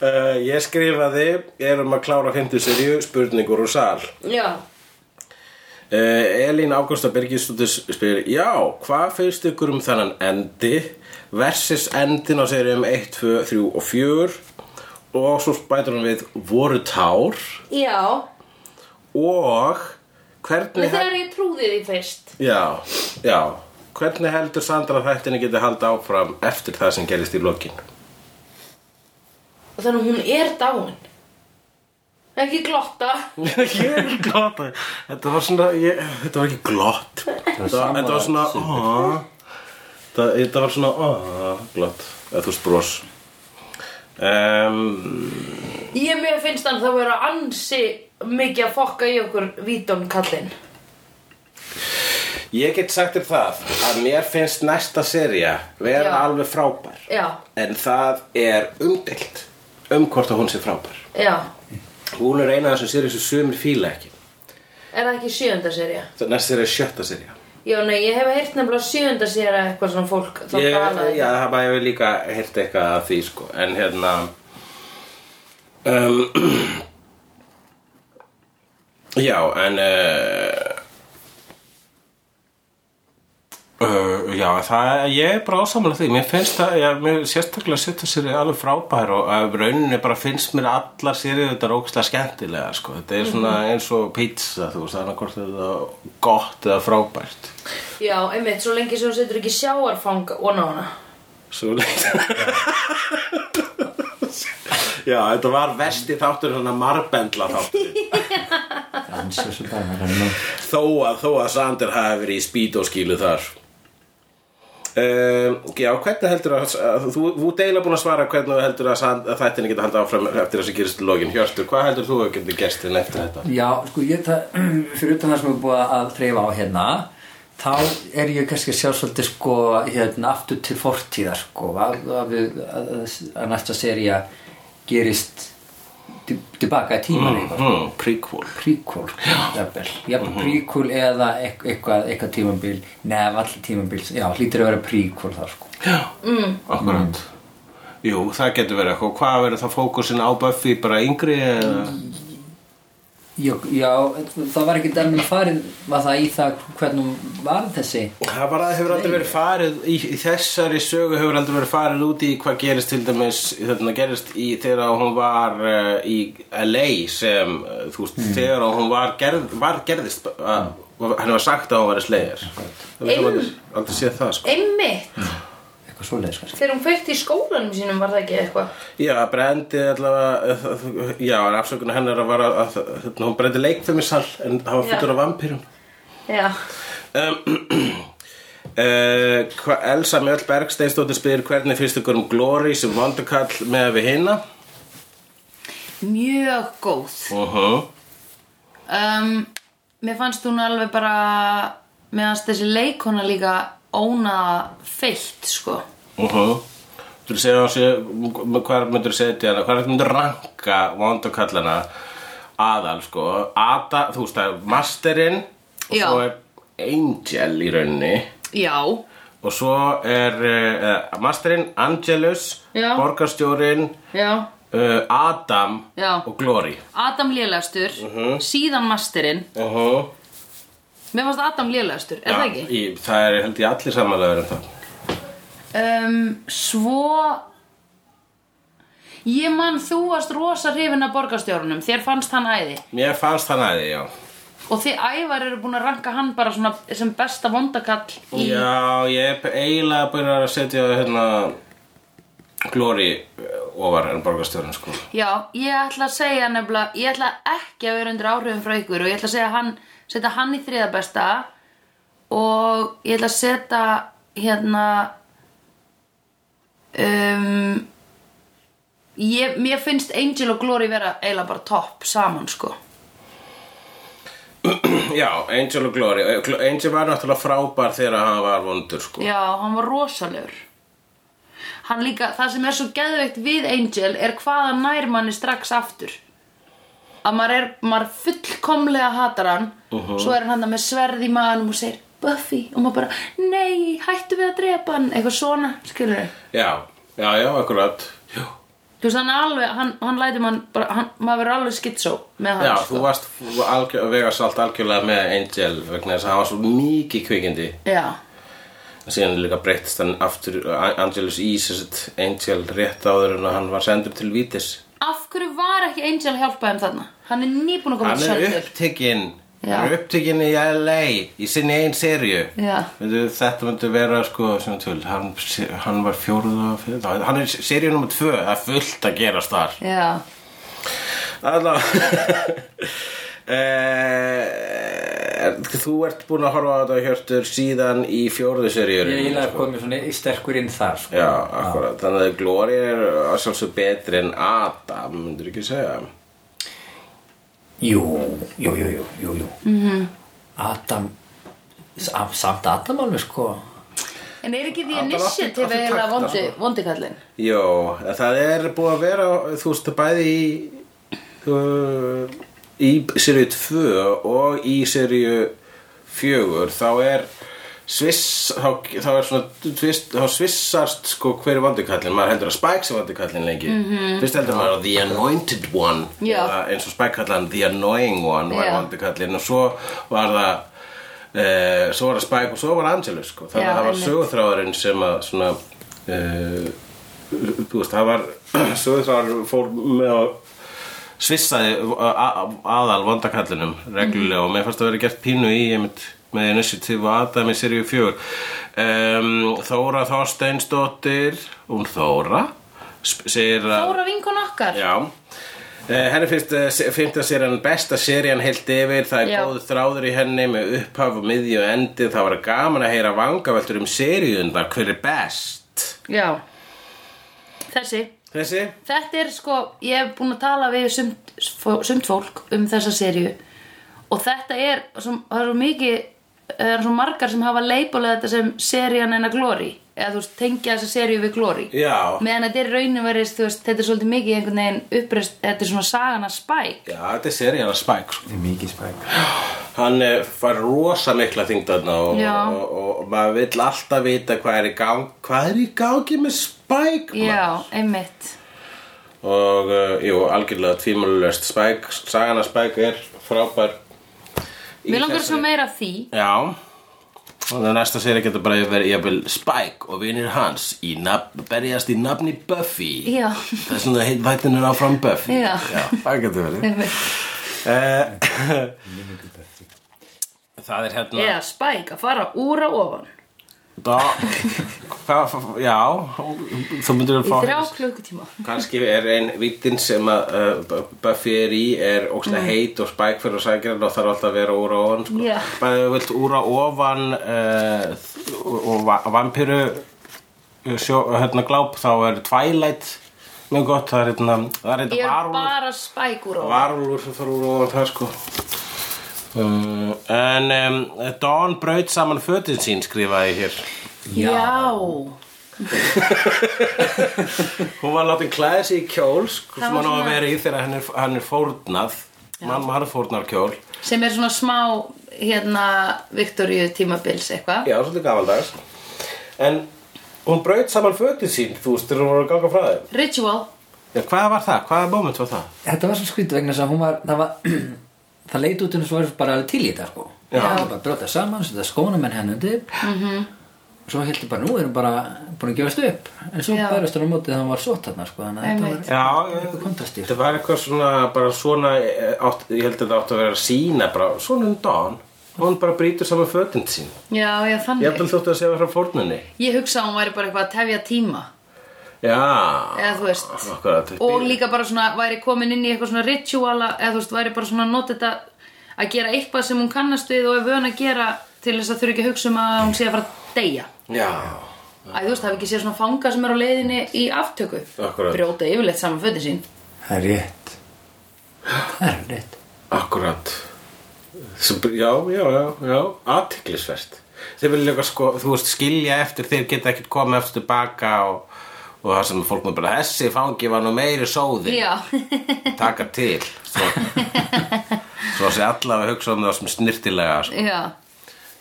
Speaker 2: Uh, ég skrifaði, erum að klára 50 seríu, spurningur og sal.
Speaker 1: Já
Speaker 2: Uh, Elín Ágústa Birgisdóttir spyr, já, hvað finnst ykkur um þennan endi versus endin á seríum 1, 2, 3 og 4 og svo bætur hún við voru tár
Speaker 1: Já,
Speaker 2: og
Speaker 1: en
Speaker 2: hvernig...
Speaker 1: þegar ég trúði því fyrst
Speaker 2: Já, já. Hvernig heldur Sandra að þættinni geti halda áfram eftir það sem gerist í lokin?
Speaker 1: og þannig að hún er dáin Ekki glotta
Speaker 2: Ég er ekki glott Þetta var svona, ég, þetta var ekki glott Þetta var, þetta var svona "Aw." Þetta þetta var svona "Aw," glott, eða þú veist bros um,
Speaker 1: Ég mér finnst hann það vera ansi mikið að fokka í okkur vítón kallinn
Speaker 2: Ég get sagt þér það að mér finnst næsta serja vera
Speaker 1: Já.
Speaker 2: alveg frábær
Speaker 1: Já,
Speaker 2: en það er umdelt um hvort að hún sé frábær
Speaker 1: já
Speaker 2: Hún er eina af þessum serið sem sumir fíla ekki
Speaker 1: Er það ekki sjönda serja?
Speaker 2: Það næst serið er sjötta serja
Speaker 1: Já, nei, ég hef heyrt nefnilega sjönda serja eitthvað svona fólk þá um.
Speaker 2: ég,
Speaker 1: talaði.
Speaker 2: já, það bara hefur líka heyrt eitthvað af því sko en hérna um, (clears throat) já en uh, uh, já það ég er bara ásamlega því mér finnst það, já, mér sérstaklega setja sér alveg frábær og að rauninni bara finnst mér allar sér þetta rókslega skemmtilega sko, þetta er svona eins og pizza þú veist, þannig hvort þetta er gott eða frábært
Speaker 1: Já, einmitt, svo lengi sem hún setur ekki sjáarfang ón á hana.
Speaker 2: Svo leitt Já, þetta var vesti þáttur svona marbendla þáttur
Speaker 5: Hans þessu dagar hann er
Speaker 2: Þó að, þó að Sander hafi verið í spítóskílu þar um, Já, hvernig heldur að, að þú, þú deila búin að svara hvernig þú heldur að, Sand- að þættinni geta haldið áfram eftir þessi gerist login Hjörtur, hvað heldur þú að geta gerst þinn eftir þetta?
Speaker 4: Já, sko, ég, það, (clears throat) fyrir utan það sem er búið að þreifa á hérna þá er ég kannski að sjá svolítið sko, hérna, aftur til fortíðar sko, að, að, við- að, að- að næsta serja gerist til- tilbaka í tíman mm.
Speaker 2: Hmm, prequel
Speaker 4: prequel jafnvel, jafnvel prequel eða eit- eitthvað, eitthvað tímabil nefn allir tímabil, já, hlýtur að vera prequel þar sko
Speaker 2: Já, mm. akkurat Jú, það getur verið eitthvað Hvað verður það fókusin á Buffy bara yngri? eða?
Speaker 4: já, já, það var ekki dæmum farið, var það í það hvernig hún var þessi
Speaker 2: Það bara hefur aldrei verið farið í, í þessari sögu hefur aldrei verið farið út í hvað gerist til dæmis þarna gerist í þegar hún var uh, í LA sem uh, þú veist þegar hún var, gerð, var gerðist uh, henni var sagt að hún var í slegir Það hefur aldrei, aldrei séð það sko
Speaker 1: Einmitt,
Speaker 4: eitthvað svoleiðis kannski
Speaker 1: þegar hún fyrst í skólanum sínum var það ekki eitthvað.
Speaker 2: Já, brendi allavega uh, uh, já, en afsökunar hennar að vara að, að, að hún brendi leikfemisal en það var
Speaker 1: Já.
Speaker 2: fullur af vampýrum
Speaker 1: Já,
Speaker 2: (clears throat) Uh, hva- Elsa Mjöll Bergsteinsdóttir spyr hvernig finnst ykkur um Glory sem vondukall með við hinna
Speaker 1: mjög góð.
Speaker 2: uh
Speaker 1: Um, mér fannst hún alveg bara, mér fannst þessi leikona líka óna feitt, sko.
Speaker 2: Þú vil segja á sig hvað myndur setja hana, hvað myndur ranka vondukallana aðal sko Ada, þú veist það er masterinn og
Speaker 1: Já.
Speaker 2: svo er Angel í raunni
Speaker 1: Já,
Speaker 2: og svo er uh, masterinn, Angelus
Speaker 1: Já.
Speaker 2: borgarstjórinn
Speaker 1: já.
Speaker 2: uh, Adam
Speaker 1: Já.
Speaker 2: og Glory
Speaker 1: Adam Lélastur, síðan Masterinn.
Speaker 2: uh -huh.
Speaker 1: Mér fannst Adam Lélastur, er það ekki?
Speaker 2: Í, það er held ég allir samanlega um það
Speaker 1: Um, svo Ég man þú varst rosa hrifin af borgarstjórunum Þér fannst hann æði
Speaker 2: Mér fannst hann aði, já
Speaker 1: Og þið ævar eru búin að ranka hann bara svona sem besta vondakall í
Speaker 2: Já, ég er eiginlega búin að setja hérna Glory eh, ofar en borgarstjórn sko
Speaker 1: Já, ég ætla að segja nefnilega Ég ætla ekki að vera undir áhrifum frá ykkur Og ég ætla að segja hann, setja hann í þriða besta Og ég ætla að setja hérna um, ég, Mér finnst Angel og Glory vera eiginlega bara topp saman sko
Speaker 2: Já, Angel og Glory Eh, Gl- Angel var náttúrulega frábær þegar hann var vondur sko
Speaker 1: Já, hann var rosalegur Hann líka, það sem er svo geðveikt við Angel er hvaða nær manni strax aftur að maður er, maður fullkomlega hatar hann
Speaker 2: Uh-huh.
Speaker 1: svo er hann hann með sverð í maðanum og segir Buffy og maður bara, nei, hættu við að drepa hann eitthvað svona, skilur við
Speaker 2: Já, já, já, akkurat Já,
Speaker 1: Þú veist, hann er alveg, hann, hann lætur mann bara, hann, maður verður alveg skitsó með hann
Speaker 2: já
Speaker 1: sko.
Speaker 2: þú varst algjör, vegast allt algjörlega með Angel vegna þess að hann var svo mikið kvikindi
Speaker 1: Já,
Speaker 2: síðan líka breyttist hann aftur A- Angelus í sérst Angel rétt áður en að hann var sendur til Vítis
Speaker 1: af hverju var ekki Angel að hjálpa þeim þarna? Hann er nýbúin að koma
Speaker 2: Hann er upptekinn
Speaker 1: Já.
Speaker 2: Hann er upptekinn í LA Í sinni einn serju
Speaker 1: Já.
Speaker 2: Myndu, Þetta myndi vera sko sem til, hann, hann var fjórða fjórða- Hann er serju nummer tvö Það er fullt að gerast þar
Speaker 1: Já,
Speaker 2: Alla (laughs) Eh, Þú ert búin að horfa á þetta hjörtur síðan í fjórðu seríur
Speaker 4: Ég er eiginlega komið svona í- sterkur inn þar sko.
Speaker 2: Já, akkurat, þannig að Gloria er að sjálfsög betri en Adam, myndur ekki segja
Speaker 4: Jú, jú, jú, jú, jú, jú. Mm
Speaker 1: Mhm.
Speaker 4: -hmm. Adam sam- Samt Adam alveg sko
Speaker 1: En er ekki því að
Speaker 2: Adam
Speaker 1: nissi
Speaker 2: átti-
Speaker 1: til
Speaker 2: átti
Speaker 1: eiginlega
Speaker 2: takta,
Speaker 1: vondi,
Speaker 2: sko.
Speaker 1: vondi kallinn?
Speaker 2: Jó, það er búið að vera, þú veist, bæði í, þú, í seríu 2 og í seríu 4, þá er sviss, þá, þá er svona, tvist, þá svissast sko hver er vandikallin, maður heldur að Spike sé vandikallin lengi, -hmm. fyrst heldur maður að The Anointed One,
Speaker 1: Mhm. Já.
Speaker 2: eða eins og Spike kallan The Annoying One var
Speaker 1: Já.
Speaker 2: vandikallin og svo var það, Uh, svo var það Spike og svo var Angelus sko. þannig
Speaker 1: Já,
Speaker 2: að það var
Speaker 1: einmitt.
Speaker 2: sögurþráðurinn sem að svona uh, þú veist, það var (clears throat) Söðsvar fór með að svissaði a- a- aðal vandakallinum
Speaker 1: Mhm.
Speaker 2: reglulega og mér fannst að vera gert pínu í einmitt með initiative Adam í seríu 4 um, Þóra Þorsteinsdóttir hún Þóra sp- segir að
Speaker 1: Þóra vinkon okkar?
Speaker 2: Já Eh, Henni finnst eh, fimmta serían besta serían heilt yfir, það er
Speaker 1: Já.
Speaker 2: góð þráður í henni með upphaf og miðju og endi, það var gaman að heyra vangaveltur um seríundar, hver er best?
Speaker 1: Já. Þessi.
Speaker 2: Þessi?
Speaker 1: Þetta er sko, ég hef búin að tala við sumt, sumt fólk um þessa serju og þetta er, svo, það er svo mikið, það er svo margar sem hafa leipulað þetta sem serían hennar Glory eða þú veist, tengja þessa serju við Glory
Speaker 2: Já.
Speaker 1: meðan þetta er raunum verið, þú veist, þetta er svolítið mikið einhvern veginn uppreist, þetta er svona sagan að spæk
Speaker 2: Já, þetta er serían að Spike sko.
Speaker 5: Mikið spæk
Speaker 2: hann eh, fær rosa mikla þingdarna og,
Speaker 1: Já.
Speaker 2: og, og, og maður vill alltaf vita hvað er í gang hvað er í gangi með Spike maður?
Speaker 1: Já, einmitt
Speaker 2: og uh, jú, algjörlega tvímölulegst Spike, sagana Spike er frábær í
Speaker 1: Mér langar
Speaker 2: þessari-
Speaker 1: svo meira af því
Speaker 2: Já Og það næsta séri getur bara verið jafnvel Spike og vinir hans í nafn, berjast í nafni Buffy
Speaker 1: Já.
Speaker 2: Það er svona heit vætinu áfram Buffy
Speaker 1: Já.
Speaker 2: það getur verið
Speaker 1: einmitt.
Speaker 2: uh, (laughs) Það er hérna
Speaker 1: Eða spæk að fara úr á ofan
Speaker 2: da, hva, Já Þú myndir
Speaker 1: í
Speaker 2: að fá
Speaker 1: þrjá klukkutíma
Speaker 2: kannski er ein vittin sem að uh, Buffy er í er ókslega heit og Spike fyrir að sækja hann og þarf alltaf að vera úr á ofan sko.
Speaker 1: Mm. Já.
Speaker 2: bæði þú vilt úr á ofan uh, og va vampiru sjó, hérna gláp þá er Twilight mjög gott, það er hérna það er
Speaker 1: Ég
Speaker 2: hérna
Speaker 1: er
Speaker 2: varúlfur
Speaker 1: bara spæk úr á ofan
Speaker 2: varúlfur sem fara úr á ofan það sko Uh, en um, Dawn braut saman fötin sín skrifaði hér
Speaker 1: Já.
Speaker 2: Hún var látið klæðið sig í kjól sko,
Speaker 1: Það
Speaker 2: sem
Speaker 1: var
Speaker 2: hann á að
Speaker 1: svona-
Speaker 2: vera í þegar hann er, hann er fórnað mann hann er fórnar kjól
Speaker 1: sem er svona smá hérna Viktoríu tímabils eitthvað
Speaker 2: Já, svolítið gamaldags En hún braut saman fötið sín þú veist, þegar hún var að ganga frá þeim
Speaker 1: ritual
Speaker 2: Já, hvað var það? Hvaða moment var það?
Speaker 4: Þetta var svo skrítið vegna þess að hún var það, var, (clears throat) það leit út eins og var bara alveg til í þetta sko.
Speaker 2: Já.
Speaker 4: Það var bara að brjóta saman, setja skónum en henni undir
Speaker 1: Mhm.
Speaker 4: -hmm. Svo heldur bara nú erum bara búin að gefast upp En svo
Speaker 1: Já.
Speaker 4: bærast hann á móti þegar hann var sótt þarna sko, Þannig að
Speaker 1: Einmitt.
Speaker 4: þetta var eitthvað kontrastír
Speaker 2: Þetta var eitthvað svona, bara svona eh, átt, ég held að þetta átti að vera að sína bara, svona um dagann hún bara brýtur saman fötin sín
Speaker 1: já, já,
Speaker 2: Ég
Speaker 1: þannig
Speaker 2: held að þóttu að segja frá fórnunni
Speaker 1: ég hugsa að hún væri bara eitthvað að tefja tíma
Speaker 2: Já,
Speaker 1: eða þú veist
Speaker 2: akkurat
Speaker 1: og líka bara svona væri komin inn í eitthvað svona rituala eða þú veist væri bara svona að nota þetta að gera eitthvað sem hún kannast við og er vön að gera til þess að þurfi ekki að hugsa um að hún sé að fara að deyja
Speaker 2: Já,
Speaker 1: Æ, þú veist, hafi ekki séð svona fanga sem er á leiðinni í aftöku
Speaker 2: Akkurat.
Speaker 1: brjóta yfirleitt saman fötin sín
Speaker 4: Það er rétt Það er rétt
Speaker 2: Akkurat Sem, Já, já, já, já, athyglisvert Þeir vilja líka sko, þú veist, skilja eftir þeir geta ekkert komið eftir tilbaka og, og það sem fólk með bara þessi fangi var nú meiri sóði
Speaker 1: já,
Speaker 2: taka til svo, svo sé allavega hugsa um það sem snirtilega sko.
Speaker 1: já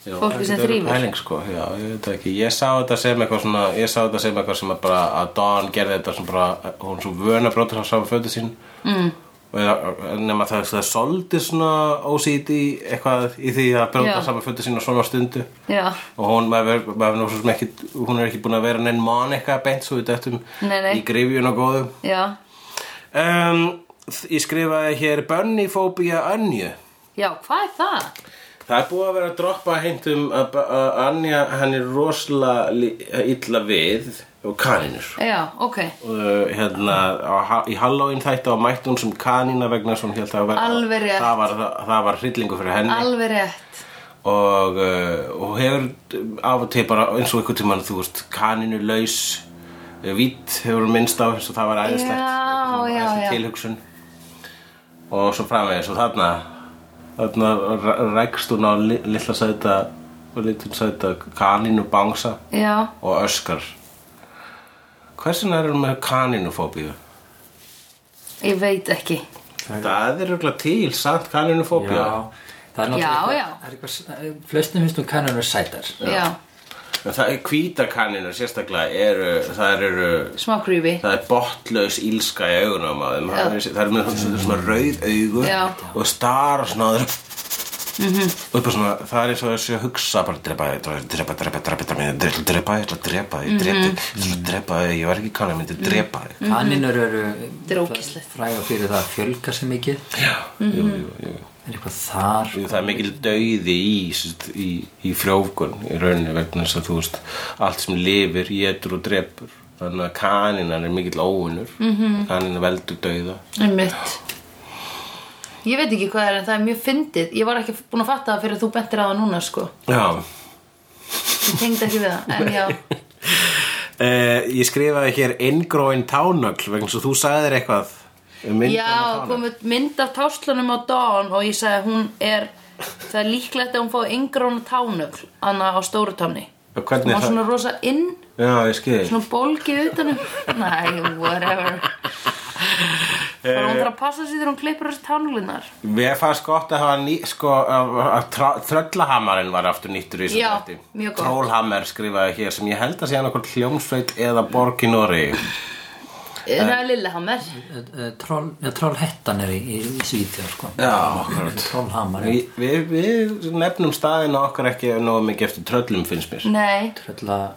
Speaker 2: Já,
Speaker 1: Fólki
Speaker 2: það
Speaker 1: sem
Speaker 2: getur verið
Speaker 1: þrífur.
Speaker 2: pæling, sko. Já, ég veit það ekki, ég sá þetta sem eitthvað svona, ég sá þetta sem eitthvað sem að bara að Dawn gerði þetta sem bara hún svo vöna brotur á saman fötu sín mm. og eða- nema það, það er soldið svona OCD eitthvað í því að
Speaker 1: Já.
Speaker 2: brjóta saman fötu sín á svona stundu
Speaker 1: Já.
Speaker 2: og hún, maður, ver- maður, maður, maður ekki, hún er ekki búin að vera neinn Monica beint svo við dættum
Speaker 1: Nei, nei.
Speaker 2: í grifjun og góðum
Speaker 1: já,
Speaker 2: um, ég skrifaði hér Bunnifóbía önju
Speaker 1: já, hvað er það?
Speaker 2: Það er búið að um vera að droppa heimtum að, að Anja hann er rosalega li- illa við og kaninur
Speaker 1: já, ok
Speaker 2: uh, hérna, á, ha- í Halloween þætti á mætti hún sem kanína vegna sem hún held að vera,
Speaker 1: Alveg rétt.
Speaker 2: það var, það, það var hryllingu fyrir henni
Speaker 1: alveg rétt
Speaker 2: og, uh, og hefur af og til bara eins og einhvern tímann þú veist kaninu laus vitt hefur hún minnst á eins og það var æðislegt
Speaker 1: Já,
Speaker 2: Svona
Speaker 1: já,
Speaker 2: æðisleg
Speaker 1: já.
Speaker 2: tilhugsun og svo framvegis og þarna þarna ræ- rækst hún á li- litla sæta og litla sæta kaninu bangsa
Speaker 1: já,
Speaker 2: og öskar hversin er hún með kaninufóbíu?
Speaker 1: ég veit ekki
Speaker 2: Það er auðvitað til, samt kaninufóbíu
Speaker 4: Já, það
Speaker 1: Já,
Speaker 4: er náttúrulega
Speaker 1: já.
Speaker 4: eitthvað- það er eitthvað, flestum finnst nú kananur sætar
Speaker 1: já,
Speaker 2: En það er hvíta kaninu sérstaklega eru, það eru
Speaker 1: smá creepy
Speaker 2: það er botlaus ílska í augunum á þeim það er, það er með svona, svona rauð augu
Speaker 1: Já.
Speaker 2: og stara svona mm -hmm. svona, það er eins og þessi að hugsa bara drepa þig, drepa, drepa, drepa, drepa, drepa ég ætla að drepa þig, ég ætla að drepa þig, ég drepa þig ég ætla að drepa þig, ég var ekki kannan, ég myndi drepa þig
Speaker 4: Kaninur eru
Speaker 1: Mhm. Þetta er ógeðslegt.
Speaker 4: fræga fyrir það að fjölga sér mikið
Speaker 2: já, jú, jú, jú
Speaker 4: er eitthvað þar
Speaker 2: Jú, það er mikil dauði í, sérst, í, í frjófgun í rauninni vegna þess að þú veist allt sem lifir, étur og drepur þannig að kaninan er mikill óunur mm -hmm. kaninan veldur dauða
Speaker 1: einmitt ég veit ekki hvað það er en það er mjög fyndið ég var ekki búin að fatta það fyrir að þú bentir á það núna sko
Speaker 2: já,
Speaker 1: ég tengd ekki við það en já,
Speaker 2: Uh, ég skrifaði hér inngróin tánögl vegna svo þú sagðir eitthvað um
Speaker 1: já komið mynd af táslunum á Dawn og ég sagði að hún er það er líklegt að hún fá yngrón tánögl anna á stóru tánni
Speaker 2: Og hvernig
Speaker 1: hún var
Speaker 2: það-
Speaker 1: svona rosa inn
Speaker 2: Já, ég skil
Speaker 1: svona bólgið utanum næ, whatever bara hún þarf að passa sér þegar hún klippur þessi tánuglunar
Speaker 2: Mér fannst gott að hafa ný, sko, að að trá- tröllahammarinn var aftur nýttur í þessu
Speaker 1: Já,
Speaker 2: þætti.
Speaker 1: mjög gott.
Speaker 2: Trollhammer skrifaði hér sem ég held að sé hann okkur hljómsveit eða borg í Nóri
Speaker 1: það er Lillehammer
Speaker 4: Eh, eh, troll, ja, trollhettan er í, í, í Svíþjóð sko.
Speaker 2: Já, akkurat
Speaker 4: trollhamar er
Speaker 2: Við, við, við nefnum staðinu okkar ekki nógu mikið eftir tröllum finnst mér
Speaker 1: nei,
Speaker 4: trölla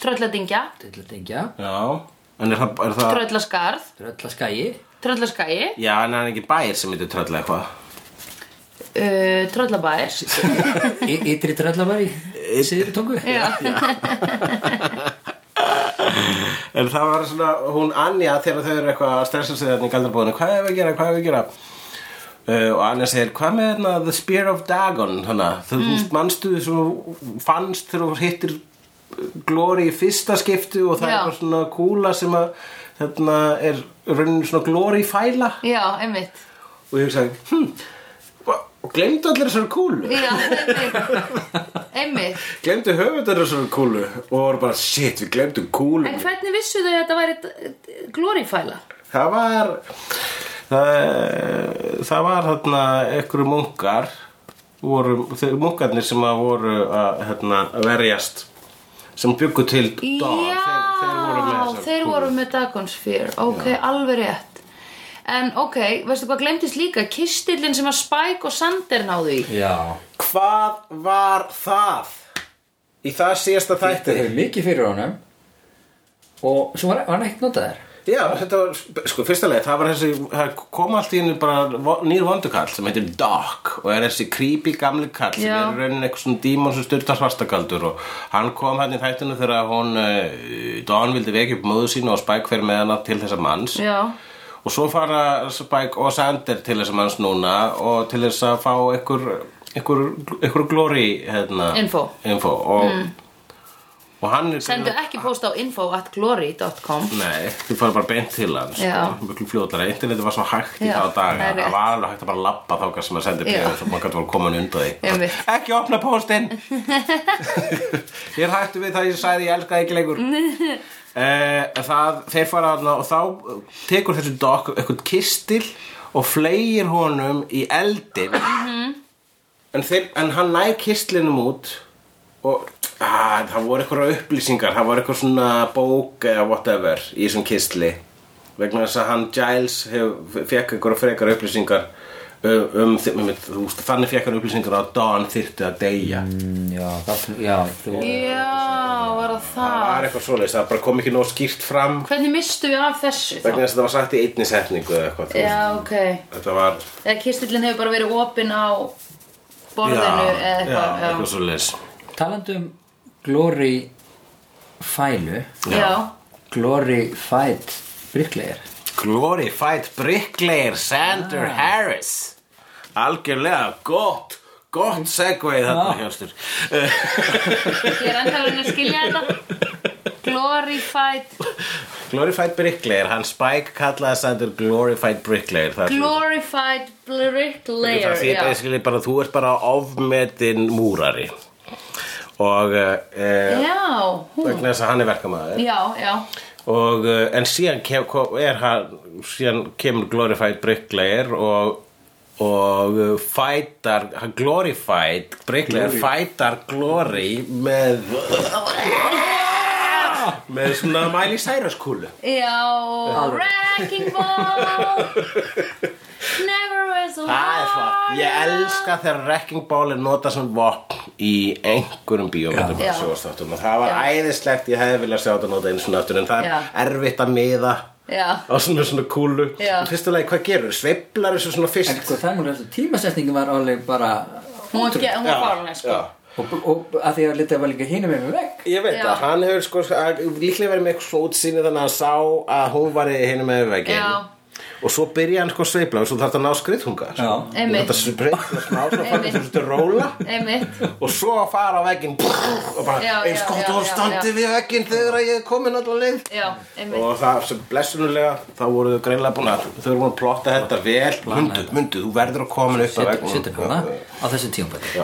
Speaker 1: trölladingja
Speaker 4: tröllatingja,
Speaker 2: Já, en er það, er það
Speaker 1: tröllaskarð
Speaker 4: tröllaskægi
Speaker 1: Tröllaskagi,
Speaker 2: Já, en er ekki bæir sem heitir tröll eitthvað
Speaker 1: uh, Tröllabær
Speaker 4: y- ytri tröllabari síðri tungu
Speaker 1: Já,
Speaker 2: En það var svona, hún Anja þegar þau eru eitthvað að stressa sig þarna í galdarbúðinu Hvað hefur að gera, hvað hefur að gera uh, Og Anja segir, hvað með hérna The Spear of Dagon hana? Þú mm. manstu þess að þú fannst þegar þú hittir glóri í fyrsta skiptu Og það
Speaker 1: Já.
Speaker 2: er bara svona kúla sem að þarna er raunin svona glóri fæla
Speaker 1: já, einmitt
Speaker 2: Og ég hugsaði, hm, og glemdu allir þessari kúlu
Speaker 1: Já, einmitt Einmitt
Speaker 2: Glemdu höfundar þessari kúlu Og voru bara, shit, við glemdum kúlu
Speaker 1: En hvernig vissu þau að þetta væri glorifæla?
Speaker 2: Það var það, það var þarna einhverju munkar voru, þeir munkarnir sem að voru að hérna, verjast sem byggu til
Speaker 1: Já,
Speaker 2: Dawn. þessar
Speaker 1: þeir
Speaker 2: kúlur.
Speaker 1: voru með Dagon's Fear Ok, alveg rétt En ok, veistu hvað glemdist líka? Kistillin sem að Spike og Sander náðu í
Speaker 4: já
Speaker 2: Hvað var það? Í það síðasta
Speaker 4: þetta
Speaker 2: þætti
Speaker 4: hefur mikið fyrir honum og svo var var hann ekkert notaður
Speaker 2: Já, þetta var, sko, fyrsta leið það var þessi, það kom allt í henni bara vo- nýr vondukall sem heitir Doc og er þessi creepy gamli kall sem
Speaker 1: Já.
Speaker 2: er raunin eitthvað svona dímon sem styrta svartakaldur og hann kom hann í þættinu þegar hún uh, Don vildi vekja upp móðu sína og Spike fyrir með hana til þessa manns
Speaker 1: Já,
Speaker 2: og svo fara Spike og Sander til þessa manns núna og til þess að fá einhver einhver, einhver glory hérna,
Speaker 1: Info. Mm.
Speaker 2: og, og hann er
Speaker 1: sendu ekki post á info.glory.com
Speaker 2: Nei, þú fara bara beint til hans
Speaker 1: Já.
Speaker 2: Mjög fljótlega, internetið var svo hægt í
Speaker 1: Já,
Speaker 2: þá daga
Speaker 1: það er rétt.
Speaker 2: Það var alveg hægt að bara labba þáka sem að senda
Speaker 1: Já.
Speaker 2: bjöð Svo maður gæti voru komin undan því
Speaker 1: Einmitt.
Speaker 2: Ekki opna
Speaker 1: (laughs)
Speaker 2: póstinn Ég er hættu við það ég sagði ég elska það ekki lengur uh, það, Þeir fara þarna og þá eh, tekur þessu dokk eitthvað kistil Og fleir honum í eldin en, þeir, en hann næg kistlinum út og að, það voru eitthvað upplýsingar það voru eitthvað svona bók eða whatever í þessum kistli vegna þess að hann Giles fekk eitthvað frekar upplýsingar um, um, um, um þannig fekk hann upplýsingar að Dawn þyrfti að deyja
Speaker 4: Mm, já, það, já, þú
Speaker 1: Já, var það
Speaker 2: það
Speaker 1: það
Speaker 2: var eitthvað svoleiðis, það bara kom ekki nóg skýrt fram
Speaker 1: Hvernig mistu við af þessu þá?
Speaker 2: vegna þess að það var sagt í einni setningu eða eitthvað þú veist.
Speaker 1: Já, ok
Speaker 2: þetta var
Speaker 1: Eða kistillin hefur bara verið opinn á borðinu
Speaker 2: já,
Speaker 1: eða
Speaker 2: já,
Speaker 1: eitthvað.
Speaker 2: eitthvað svoleiðis
Speaker 4: talandi um glóri fælu
Speaker 1: Já,
Speaker 4: Glorified Bricklayer
Speaker 2: Glorified Bricklayer Sander Harris Algjörlega gott Gott segveið þarna Eh, hjóstur
Speaker 1: Ég er ennþá verið að skilja þetta
Speaker 2: (laughs)
Speaker 1: Glorified
Speaker 2: Glorified Bricklayer, hann Spike kallaði Sander Glorified Bricklayer Það er svona-
Speaker 1: Glorified bricklayer
Speaker 2: Það þýðir
Speaker 1: já.
Speaker 2: basically bara þú ert bara ofmetin múrari og eh,
Speaker 1: já, hún
Speaker 2: vegna þess að hann er verkamæður
Speaker 1: Já, já
Speaker 2: og eh, en síðan, kem, kom, er hann, síðan kemur Glorified Bricklayer og og eh, fætar hann glorified Bricklayer fætar glory með með svona Miley Cyrus kúlu
Speaker 1: Já, wrecking
Speaker 2: (laughs)
Speaker 1: ball Never was a
Speaker 2: Það er
Speaker 1: Ah,
Speaker 2: flott. Ég elska þegar wrecking ball er notað sem vopn í einhverjum bíómyndum
Speaker 1: Já.
Speaker 2: og sjóastáttum og það var
Speaker 1: Já.
Speaker 2: æðislegt, ég hefði viljað sjá þetta notað eins og aftur en það
Speaker 1: Já.
Speaker 2: er erfitt að miða
Speaker 1: Já.
Speaker 2: á svona, svona kúlu
Speaker 1: Já.
Speaker 2: Í fyrsta lagi, hvað gerur? Sveiflar þessu svona
Speaker 4: En
Speaker 2: fyrst
Speaker 4: sko það er mjög þessu tímasetningi var alveg bara
Speaker 1: Hún var ge- hún var fárlega sko
Speaker 2: Já.
Speaker 4: og, og að því að lita var líka hinum með vekk
Speaker 2: Ég veit
Speaker 1: Já.
Speaker 2: að hann hefur sko að- líklega verið með eitthvað svo útsýni þannig að hann sá að hún var í hinum með
Speaker 1: Já.
Speaker 2: veggin og svo byrja hann sko að sveifla og svo þarf þetta að ná skriðtunga sko.
Speaker 4: Já.
Speaker 1: Einmitt.
Speaker 2: þetta sveifla smá svo fann
Speaker 1: Einmitt.
Speaker 2: þetta svolítið róla
Speaker 1: Einmitt
Speaker 2: og svo að fara á veggin og bara
Speaker 1: Já, já,
Speaker 2: eins gott
Speaker 1: já,
Speaker 2: og
Speaker 1: já,
Speaker 2: standi
Speaker 1: já.
Speaker 2: við veggin þegar að ég er komin allar leið
Speaker 1: Já, einmitt
Speaker 2: og það sem blessunulega þá voru þau greinlega búin að þau voru búin að plotta þetta vel mundu, mundu, þú verður að komin upp sko. að
Speaker 4: Setur-
Speaker 2: veggin
Speaker 4: setur hana á þessu tímabæti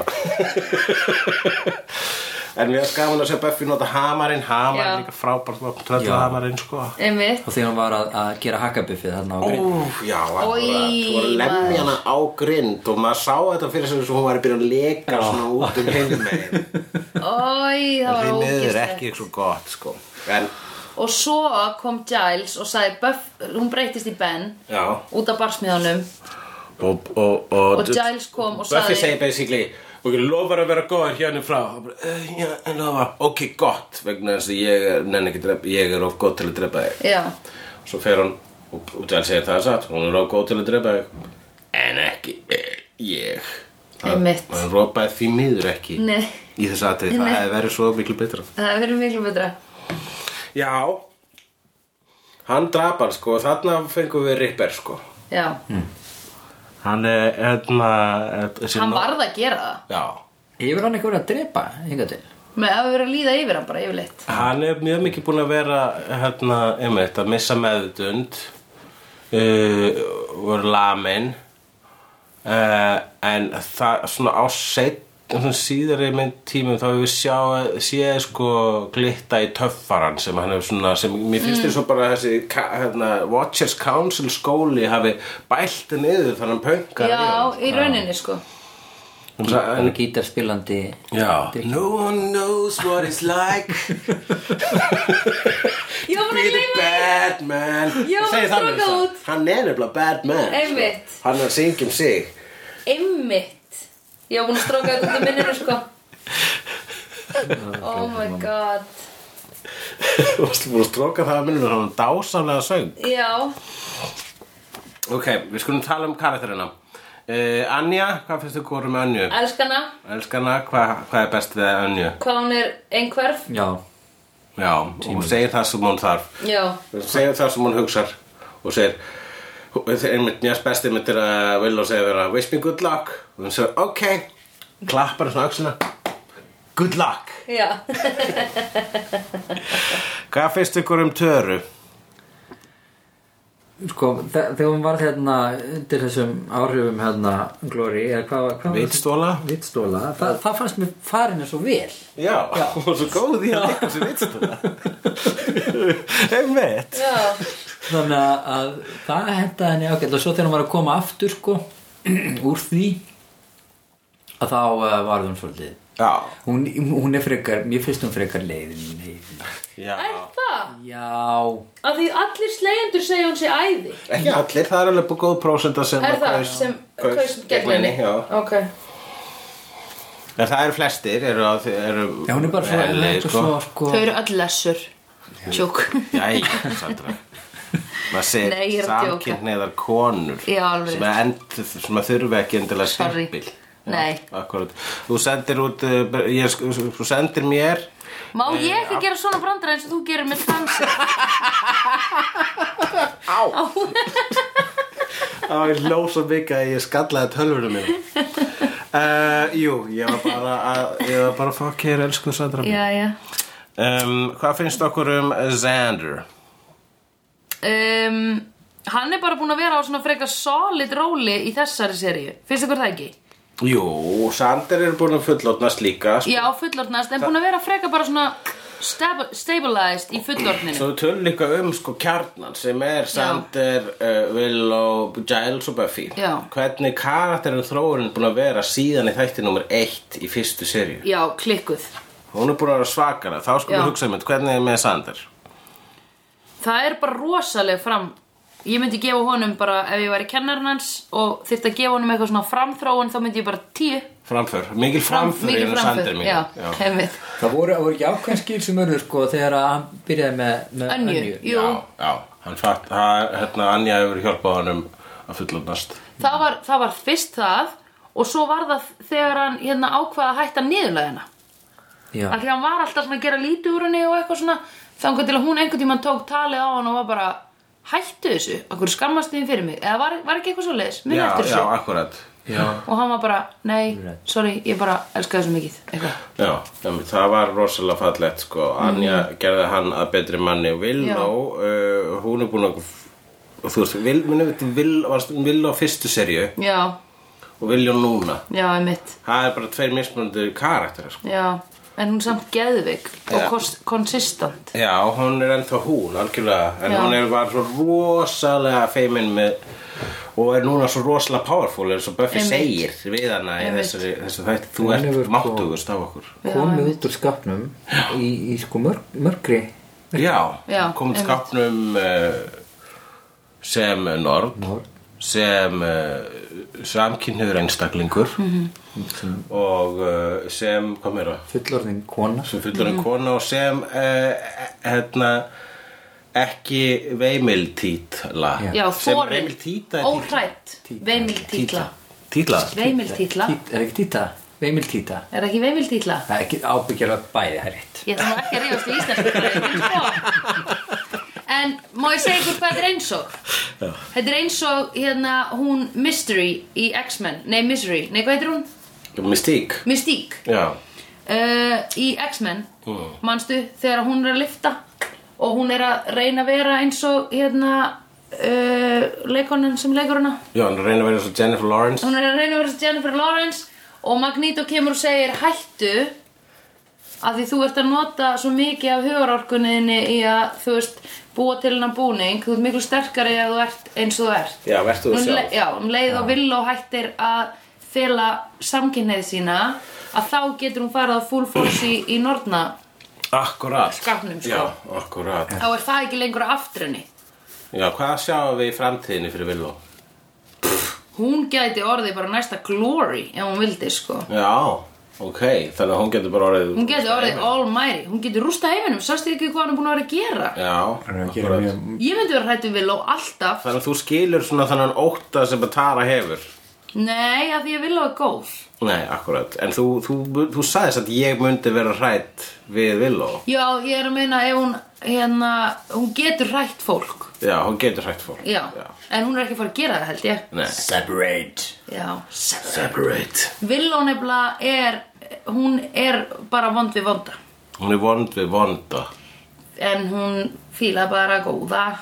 Speaker 2: (laughs) en mér er skafan að segja Buffy nota hamarinn hamar
Speaker 1: Já.
Speaker 2: er líka frábært vopn, tröllu hamarinn sko
Speaker 1: Einmitt
Speaker 4: og því hann var að, að gera hakabuffið þarna á
Speaker 2: Ú,
Speaker 4: grein
Speaker 2: já, akkurat
Speaker 1: Oj,
Speaker 2: og lemja hana á grind og maður sá þetta fyrir sig eins og hún var að byrja að leka svona út um hinn (laughs) megin
Speaker 1: Ói, það var
Speaker 2: því miður
Speaker 1: ógislegt
Speaker 2: ekki svo gott sko en,
Speaker 1: Og svo kom Giles og sagði Buff, hún breytist í Ben
Speaker 2: já
Speaker 1: út af barsmiðanum
Speaker 2: og, og, og,
Speaker 1: Og Giles kom og
Speaker 2: Buffy
Speaker 1: sagði-
Speaker 2: segir basically ok, lofar að vera góður hérna frá og bara, eh, já, en lofar, ok, gott vegna þess að ég er, nenni ekki að drepa ég er of góð til að drepa þig
Speaker 1: Já,
Speaker 2: svo fer hún og, og Giles segir það er satt hún er of góð til að drepa þig en ekki eh, ég
Speaker 1: Einmitt.
Speaker 2: og hann ropaði því miður ekki
Speaker 1: Nei.
Speaker 2: í þess aðrið, það
Speaker 1: Nei.
Speaker 2: hefði verið svo miklu betra
Speaker 1: það hefur verið miklu betra
Speaker 2: já hann drapar sko, þarna fengum við Ripper sko
Speaker 1: Já,
Speaker 2: hann er, hérna
Speaker 1: hann varð að gera það
Speaker 2: já
Speaker 4: Hefur hann eitthvað verið að drepa hingað til?
Speaker 1: Með að vera að líða yfir hann bara yfirleitt
Speaker 2: Hann er mjög mikið búinn að vera hérna, einmitt, að missa meðutund uh, voru lamin uh, en það svona á set svona síðari mynd tímum þá hefur sjá, séð sko glitta í töffaran sem hann hefur svona sem mér finnst þér svo bara þessi ka- hérna, Watchers Council skóli hafi bælt niður þannig hann pönkar
Speaker 1: Já, í rauninni sko
Speaker 2: í hann
Speaker 4: Hann er gítarspilandi
Speaker 2: Já, no one knows what it's like
Speaker 1: Ég var bara að gleyma því.
Speaker 2: bad man
Speaker 1: Ég var bara
Speaker 2: Segir
Speaker 1: að
Speaker 2: þannig
Speaker 1: stróka
Speaker 2: það.
Speaker 1: út.
Speaker 2: Hann er nefnilega bad man
Speaker 1: Einmitt.
Speaker 2: sko. Hann er að syngja um sig
Speaker 1: Einmitt Ég var búin að stróka þetta út af minninu sko Oh my god
Speaker 2: (laughs) Þú varst búin að stróka það að minnum Hann dásamlega söng
Speaker 1: Já,
Speaker 2: Ok, við skulum tala um karakterina uh, Anja, hvað finnst þú góru með Anju?
Speaker 1: elskana
Speaker 2: Elskana, hvað hva er best við Anju?
Speaker 1: Hvað hún er einhverf
Speaker 4: Já,
Speaker 2: Já, og hún segir það sem hún þarf
Speaker 1: Já,
Speaker 2: segir það sem hún hugsar og segir einmitt mjög bestið mitt er að vilja og segja vera wish me good luck og hún segir ok klappar svona öxlina good luck
Speaker 1: já
Speaker 2: hvað finnst ykkur um töru?
Speaker 4: sko, þe- þegar hún varð hérna undir þessum áhrifum hérna Glory, eða hvað var hvað var-
Speaker 2: Vitstóla?
Speaker 4: Vitstóla, Þa, það fannst mér farin eins og vel
Speaker 2: já, (laughs) hún var svo góð í að líka sem vitstóla (laughs) einmitt
Speaker 1: Já,
Speaker 4: Þannig að- að það henda henni ágætt og svo þegar hún var að koma aftur sko, (clears throat) úr því að þá uh, var hún svolítið
Speaker 2: já,
Speaker 4: hún, hún er frekar, mér finnst hún frekar leiðin leiðin.
Speaker 2: já.
Speaker 1: er það?
Speaker 4: Já,
Speaker 1: Af því allir slegjendur segja hún sé æði
Speaker 2: ekki allir, það er alveg búið góð prósenda sem
Speaker 1: Er það
Speaker 2: kaus-
Speaker 1: sem
Speaker 2: kaus
Speaker 1: kaus gegn henni?
Speaker 2: já.
Speaker 1: Ok
Speaker 2: en það eru flestir eru, að- eru
Speaker 4: já hún er bara svo,
Speaker 2: Nei,
Speaker 4: Nei, svo sko,
Speaker 1: Þau eru öll lessur Tjók
Speaker 2: Jæja, Sandra maður
Speaker 1: Nei, ég
Speaker 2: segir
Speaker 1: er að djóka.
Speaker 2: samkynniðar konur
Speaker 1: Já, alveg
Speaker 2: sem, að end, sem að þurfa ekki endilega
Speaker 1: Sorry.
Speaker 2: stimpil
Speaker 1: Nei.
Speaker 2: Akkurat. Þú sendir út, uh, ég, sk- þú sendir mér
Speaker 1: Má ég ekki gera svona brandara eins og þú gerir með tansi?
Speaker 2: Á, ég hló svo mikið að ég skallaði tölvunum minn. Uh, jú, ég var bara að, ég var bara að fokk hér, elsku Sandra. mín.
Speaker 1: já, já.
Speaker 2: Um, hvað finnst okkur um Xander?
Speaker 1: Um, hann er bara búinn að vera á svona frekar solid róli í þessari seríu. Finnst ykkur það ekki?
Speaker 2: Jú, Xander er búin að fullotnast líka. sko.
Speaker 1: Já, fullorðnast, en búinn að vera frekar bara svona stab stabilized í fullorðninu.
Speaker 2: Svo við tölum líka um sko kjarnan sem er Sander, uh, Willow, Giles og Buffy
Speaker 1: Já.
Speaker 2: Hvernig karakterinn þróurinn búin að vera síðan í þætti nummer eitt í fyrstu serju
Speaker 1: Já, klikkuð.
Speaker 2: Hún er búin að vera svakara, þá sko
Speaker 1: Já.
Speaker 2: við hugsa með hvernig er með Sander
Speaker 1: Það er bara rosaleg fram Ég myndi gefa honum bara ef ég væri kennarinn hans og þyrfti að gefa honum eitthvað svona framþróun þá myndi ég bara tíu
Speaker 2: Framför, mikil framför
Speaker 1: mikil
Speaker 2: er um Sander mín
Speaker 1: Já, einmitt
Speaker 4: Það voru, voru ekki ákveðin skil sem örður sko þegar að hann byrjaði með, með
Speaker 1: Önju, jú
Speaker 2: já, já, hann fatt, hann, hérna Anja hefur hjálpað honum að fullotnast
Speaker 1: það, var, það var fyrst það og svo var það þegar hann hérna ákvaða að hætta niðurlegina
Speaker 4: Já.
Speaker 1: Af því hann var alltaf svona að gera lítið úr henni og eitthvað svona þangar til að hún einhvern tímann tók talið á hann og var bara hættu þessu, akkur skammast þín fyrir mig eða var, var ekki eitthvað svo leiðis, minn
Speaker 2: Já,
Speaker 1: eftir
Speaker 2: já,
Speaker 1: þessu
Speaker 2: akkurat
Speaker 4: Já.
Speaker 1: og hann var bara, nei, sorry, ég bara elska þessu mikið eitthvað
Speaker 2: Já, nefnir, það var rosalega fallegt sko. Anja
Speaker 1: Mhm.
Speaker 2: gerði hann að betri manni Willow, uh, hún er búin að þú veist, Will, minni veit Will, varst Willow á fyrstu serju
Speaker 1: Já,
Speaker 2: og Willow núna
Speaker 1: já, einmitt
Speaker 2: það er bara tveir mismunandi karakterar sko.
Speaker 1: Já, en hún er samt geðvik og
Speaker 2: Já.
Speaker 1: kost- konsistent
Speaker 2: Já, hún er ennþá hún, algjörlega en
Speaker 1: Já.
Speaker 2: hún er, var svo rosalega feimin með og er núna svo rosalega powerful eins og Buffy
Speaker 1: Einmitt.
Speaker 2: segir við hana í
Speaker 1: Einmitt.
Speaker 2: þessari, þessari þætti þú
Speaker 4: Hún hefur
Speaker 2: ert
Speaker 4: sko-
Speaker 2: máttugust af okkur
Speaker 4: komið út úr skapnum í, í sko mörg, mörgri
Speaker 2: Já,
Speaker 1: Já,
Speaker 2: komið
Speaker 1: einmitt.
Speaker 2: skapnum uh, sem nord,
Speaker 4: Nord.
Speaker 2: sem uh, samkynniður einstaklingur
Speaker 1: Mhm.
Speaker 2: og uh, sem, hvað meira,
Speaker 4: fullorðin kona sko.
Speaker 2: sem fullur en kona og sem uh, hérna ekki veimiltítla
Speaker 4: Já.
Speaker 1: Já,
Speaker 2: sem
Speaker 1: þorin,
Speaker 2: veimiltíta er
Speaker 1: óhrætt, veimiltítla
Speaker 2: Títla?
Speaker 1: Veimiltítla,
Speaker 4: Tít- er ekki títa, veimil títa
Speaker 1: er það ekki veimiltítla?
Speaker 4: það er ekki ábyggjulega bæði það er rétt
Speaker 1: Ég þarf nú ekki að rífast í íslensku sko. En má ég segja ykkur hvað þetta er eins og? Þetta er eins og hérna hún Mystery í X-Men Nei, Misery, nei hvað heitir hún?
Speaker 2: Mystík
Speaker 1: Mystique
Speaker 2: Já,
Speaker 1: uh, í X-Men
Speaker 2: Mm.
Speaker 1: manstu þegar hún er að lifta og hún er að reyna að vera eins og hérna uh, leikonin sem leikur hana
Speaker 2: Já hann reynir að vera svo Jennifer Lawrence
Speaker 1: hún er að reyna að vera eins og Jennifer Lawrence og Magneto kemur og segir hættu af því þú ert að nota svo mikið af hugarorkunniðinni í að þú veist búa til hennar búning þú ert miklu sterkari ef þú ert eins og þú ert
Speaker 2: Já, vertu þú
Speaker 1: um
Speaker 2: sjálf
Speaker 1: le- já, um leið og vill og hættir að fela samkynneið sína að þá getur hún farið að full force í, í nortna
Speaker 2: Akkurat
Speaker 1: Skapnum, sko.
Speaker 2: Já, akkurat
Speaker 1: þá er það ekki lengur aftrunni
Speaker 2: Já, hvað sjáum við í framtíðinni fyrir Villó?
Speaker 1: hún gæti orðið bara næsta glory ef hún vildi sko
Speaker 2: Já, ok, þannig að hún getur bara orðið
Speaker 1: hún gæti orðið almighty, hún getur rústa heiminum sástu ekki hvað hann er búin að vera að gera
Speaker 2: Já,
Speaker 4: Ég er
Speaker 2: akkurat.
Speaker 4: mjög-
Speaker 1: ég myndi vera hrættu vill og alltaf
Speaker 2: Þannig að þú skilur svona þannig ótta sem bara Tara hefur
Speaker 1: nei, af því að vill og er góð
Speaker 2: Nei, akkurat, en þú, þú, þú, sagðist að ég myndi vera hrætt við Villó
Speaker 1: já, ég er að meina ef hún hérna, hún getur hrætt fólk
Speaker 2: Já, hún getur hrætt fólk
Speaker 1: já, en hún er ekki að fara að gera það held ég
Speaker 2: Nei
Speaker 4: separate
Speaker 1: já,
Speaker 2: Separate
Speaker 1: Villó nefnilega er hún er bara vond við vonda
Speaker 2: Hún er vond við vonda
Speaker 1: en hún fíla bara góða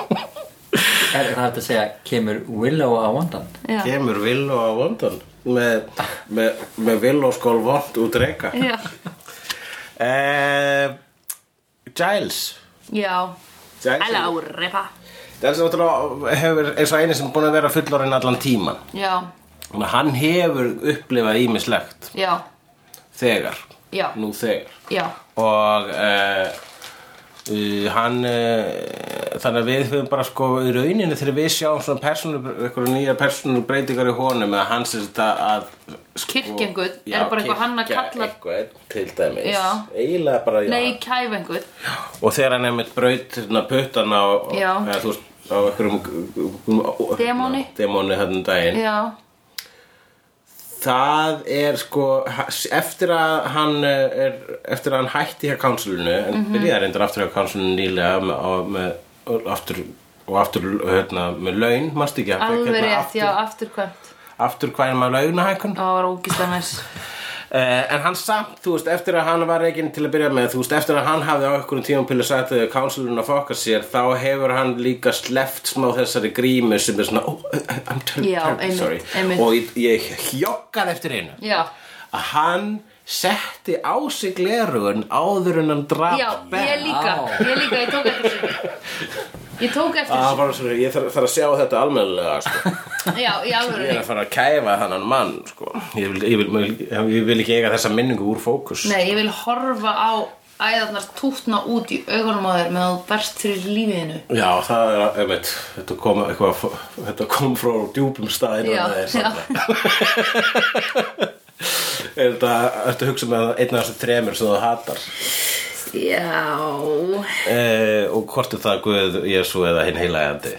Speaker 4: er það hægt að segja kemur Willow á vandan
Speaker 1: já,
Speaker 2: Kemur Villó á vondan með, með, með Villó skól vond út reyka
Speaker 1: já.
Speaker 2: eh, Giles
Speaker 1: já.
Speaker 2: Giles
Speaker 1: hello ripa
Speaker 2: Það er sem náttúrulega hefur eins og eini sem er búin að vera fullorinn allan tíman.
Speaker 1: já,
Speaker 2: Þannig að hann hefur upplifað ímislegt
Speaker 1: já,
Speaker 2: þegar,
Speaker 1: Já.
Speaker 2: nú þegar.
Speaker 1: já
Speaker 2: Og uh, uh, hann, uh, þannig að við höfum bara sko í rauninni þegar við sjáum svona persónu, eitthvað nýja persónu breytingar í honum eða hans er þetta að... Sko,
Speaker 1: Kyrkjengull er bara eitthvað hann að
Speaker 2: kyrkja
Speaker 1: kalla-
Speaker 2: Eitthvað, til dæmis.
Speaker 1: Já.
Speaker 2: Eiginlega bara, já.
Speaker 1: nei, kæfengur
Speaker 2: Og þegar hann einmitt braut hérna puttana á, á-
Speaker 1: Já.
Speaker 2: eða þú veist, á einhverjum
Speaker 1: Demóni.
Speaker 2: demóni hann um daginn
Speaker 1: já,
Speaker 2: það er sko eftir að hann eh, er, eftir að hann hætti hjá kanslunu en
Speaker 1: Mhm.
Speaker 2: byrjaði reyndar aftur hjá kanslunu nýlega með, og, með, og aftur og aftur hérna, með laun manstu ekki að hann fékk,
Speaker 1: Alveg
Speaker 2: hérna,
Speaker 1: rétt, já, afturkvæmt
Speaker 2: aftur, aftur hvað er maður launahækun
Speaker 1: Það var ógislega næs
Speaker 2: Uh, en hann samt, þú veist, eftir að hann var reygin til að byrja með, þú veist, eftir að hann hafði á einhverjum tímapilu sagt að counselorinn að fokka sér þá hefur hann líka sleft smá þessari grímu sem er svona oh, I'm terribly,
Speaker 1: Já,
Speaker 2: terribly
Speaker 1: einmitt,
Speaker 2: sorry
Speaker 1: einmitt.
Speaker 2: og ég, ég hjokkaði eftir einu
Speaker 1: Já,
Speaker 2: að hann setti á sig glerugun áður en hann draf
Speaker 1: já, ég líka Ég líka, ég tók eftir þessu Ég tók eftir
Speaker 2: Ah,
Speaker 1: þessu
Speaker 2: bara, svona, ég þarf, þarf að sjá þetta almennilega sko.
Speaker 1: Já, í
Speaker 2: ég er
Speaker 1: alveg
Speaker 2: að fara að kæfa þannan mann sko. ég, vil, ég, vil, ég vil ekki eiga þessa minningu úr fókus
Speaker 1: Nei, ég vil horfa á æðarnar tútna út í augunum á þér meðan þú berst fyrir lífiðinu
Speaker 2: Já, það er, einmitt, þetta kom, eitthvað, þetta kom frá djúpum staðinu
Speaker 1: Já, já.
Speaker 2: (laughs) Er þetta, ertu að hugsa með einn af þessum þremur sem þú hatar
Speaker 1: Já
Speaker 2: e, og hvort er það Guð, Jésu eða hinn heilægandi?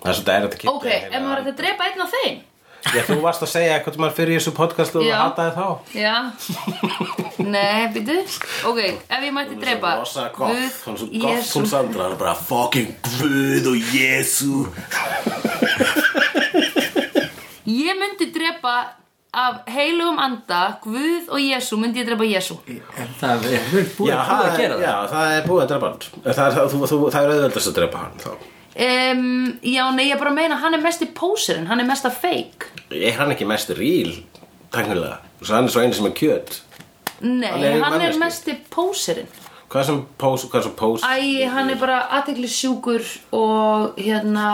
Speaker 2: Það er svolítið erfitt að kippa
Speaker 1: Ok, ef maður ætti að drepa einn af þeim
Speaker 2: Já, þú varst að segja eitthvað maður fyrir þessu podcast og
Speaker 1: Já.
Speaker 2: þú hataði þá
Speaker 1: Já Nei, býtu Ok, ef ég mætti drepa
Speaker 2: Rosa gott, hún svo gott
Speaker 1: Jesú
Speaker 2: hún Sandra hann er bara fucking Guð og Jésu
Speaker 1: Ég myndi drepa af heilugum anda Guð og Jésu myndi ég drepa Jésu
Speaker 4: En það er búið, búið
Speaker 2: það
Speaker 4: að
Speaker 2: er-
Speaker 4: gera það
Speaker 2: Já, það er búið að drepa hann Eh, Það er, það, þú, þú, það er auðveldast að drepa hann þá
Speaker 1: um, Já, nei, ég bara meina Hann er mest í póserinn, hann er mest að feik
Speaker 2: Er hann ekki mest ríl, tæknilega? Svo hann er svo einu sem er kjöt
Speaker 1: Nei,
Speaker 2: Hann
Speaker 1: hann
Speaker 2: er
Speaker 1: er,
Speaker 2: manneskja.
Speaker 1: mest í póserinn
Speaker 2: Hvað er sem pós, hvað er sem pós?
Speaker 1: Æ, hann er bara aðtekli sjúkur og hérna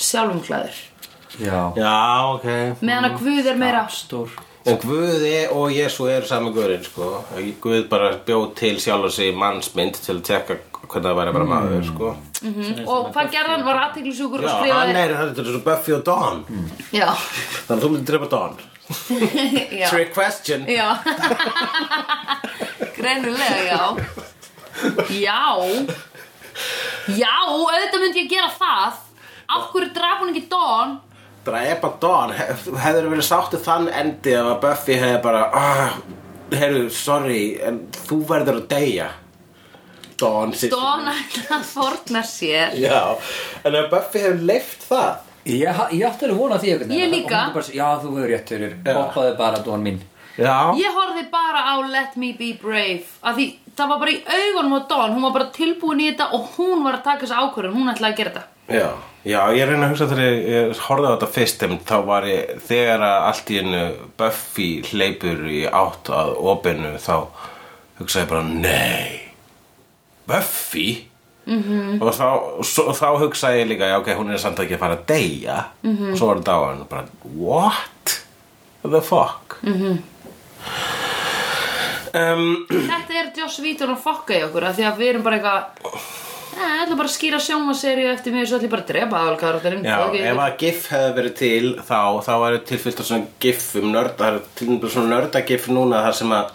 Speaker 1: sjálfumklæður
Speaker 4: Já,
Speaker 2: Já, ok
Speaker 1: meðan að Guð er meira
Speaker 4: stór
Speaker 2: En Guði og Jésu eru sami Guðurinn, sko Guð bara bjóð til sjálf og sig mannsmynd til að tekka hvernig það væri bara maður, sko
Speaker 1: og hvað gerði hann var aðtekli sjúkur
Speaker 2: Já,
Speaker 1: og
Speaker 2: hann
Speaker 1: skrifaði
Speaker 2: er, þetta er svo Buffy og Dawn
Speaker 1: Já, (laughs)
Speaker 2: Þannig að þú myndir drepa Dawn
Speaker 1: já
Speaker 2: Trick question
Speaker 1: Já (laughs) Greinilega, já Já Já, auðvitað myndi ég gera það Af hverju draf hún ekki Don
Speaker 2: Drepa Dawn, hef, hefur verið sáttu þann endi ef að Buffy hefði bara ah, Heyrðu, sorry, en þú verður að deyja Dawn systir
Speaker 1: Don ætla að forna sér
Speaker 2: Já, en ef Buffy hefur leift það
Speaker 4: Ég, ha- ég átti alveg vona því einhvern
Speaker 1: Ég
Speaker 4: veginn.
Speaker 1: líka.
Speaker 4: Og hún bara, Já, þú hefur rétt fyrir Poppaðu bara dón mín
Speaker 2: Já
Speaker 1: Ég horfði bara á Let Me Be Brave af Því það var bara í augunum á Don Hún var bara tilbúin í þetta og hún var að taka þessi ákvörðun Hún ætlaði að gera
Speaker 2: (clears throat)
Speaker 1: þetta
Speaker 2: Já, já, ég reyna að hugsa þegar ég, ég horfði á þetta fyrst en þá var ég, þegar að allt í hennu Buffy hleypur í átt að opinu þá hugsa ég bara, nei Buffy? Mm -hmm. og þá, svo, þá hugsa ég líka já, ok, hún er samt ekki að fara að deyja -hmm. og svo var þetta á hennu bara, what the fuck mm um,
Speaker 1: Þetta er Joss Vítor að fokka í okkur af Því að við erum bara eitthvað Það ætla bara að skýra sjómaseríu eftir mig Svo ætla ég bara að drepa aðalkarakterinn
Speaker 2: Já,
Speaker 1: Ok,
Speaker 2: ef að GIF hefði verið til þá, þá væri til fyrst af svona GIF um nörda, það er til nefnilega svona nörda GIF núna þar sem að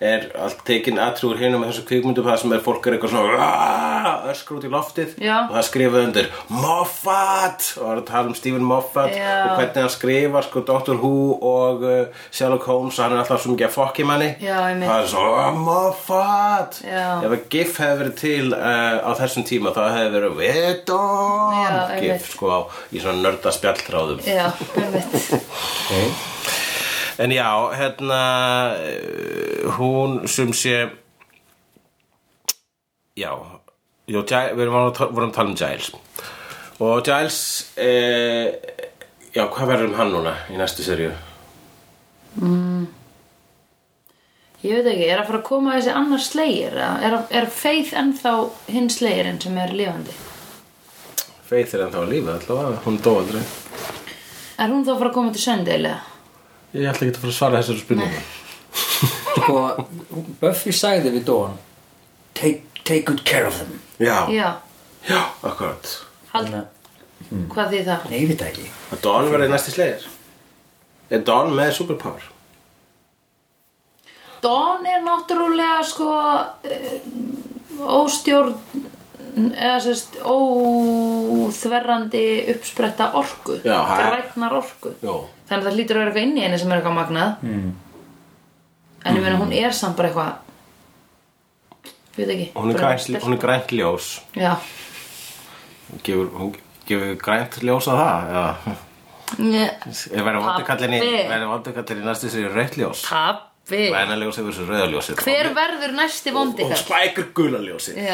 Speaker 2: er allt tekin atrúur hinum með þessu kvikmyndum þar sem er fólk er eitthvað svona "Aah!" öskur út í loftið
Speaker 1: Já.
Speaker 2: og það skrifaði undir Moffat og það er að tala um Stephen Moffat
Speaker 1: Já.
Speaker 2: og hvernig hann skrifar sko Doctor Who og uh, Sherlock Holmes og hann er alltaf svo mikið að fokki manni
Speaker 1: Já, einmitt.
Speaker 2: það er svo "Ah, Moffat
Speaker 1: Já.
Speaker 2: ef að GIF hefði verið til uh, á þessum tíma þá hefði verið Vedon
Speaker 1: Já,
Speaker 2: Gif,
Speaker 1: einmitt.
Speaker 2: sko á, í svona nörda spjalltráðum
Speaker 1: Já, einmitt
Speaker 2: en já, hérna eh, hún sem sé já Jó, Giles, við erum að ta- vorum að tala um Giles og Giles eh, já, hvað verður um hann núna í næstu serju?
Speaker 1: Ég veit ekki, er að fara að koma þessi annar slegir? eða Er, er Faith ennþá hinn slegirinn sem er lifandi?
Speaker 2: Faith er ennþá að lífa allavega, hún dó aldrei
Speaker 1: Er hún þá að fara að koma til söndeilega?
Speaker 2: ég ætla ekki að fara að svara þessari spurningu
Speaker 4: Sko, Buffy sagði við dón take, take good care of them
Speaker 2: já,
Speaker 1: Já,
Speaker 2: já, akkurat
Speaker 1: hald, hvað því það?
Speaker 4: Nei, ég veit það ekki
Speaker 2: að Dawn verði næsti slegir er Dawn með superpower?
Speaker 1: Dawn er náttúrulega sko eh, óstjórn eða sérst óþverrandi uppspretta orku
Speaker 2: Já, hæ.
Speaker 1: grætnar orku
Speaker 2: Jó
Speaker 1: þannig að það hlýtur að vera eitthvað inn í henni sem er eitthvað magnað mm. en ég meina hún er samt bara eitthvað ég veit ekki
Speaker 2: Hún er
Speaker 1: bara
Speaker 2: grænt, hún er grænt ljós
Speaker 1: stelpa. já,
Speaker 2: Hún gefur, hún gefur grænt ljós á það eða
Speaker 1: Nje,
Speaker 2: Ég verður vondurkallinni
Speaker 1: Pabbi.
Speaker 2: verður vondurkallinni næstu sér rautt ljós
Speaker 1: pabbi
Speaker 2: Vænaljós yfir þessu rauða ljósi
Speaker 1: hver verður næsti vondi
Speaker 2: Og
Speaker 1: kall
Speaker 2: spækur gula ljósi
Speaker 1: Já.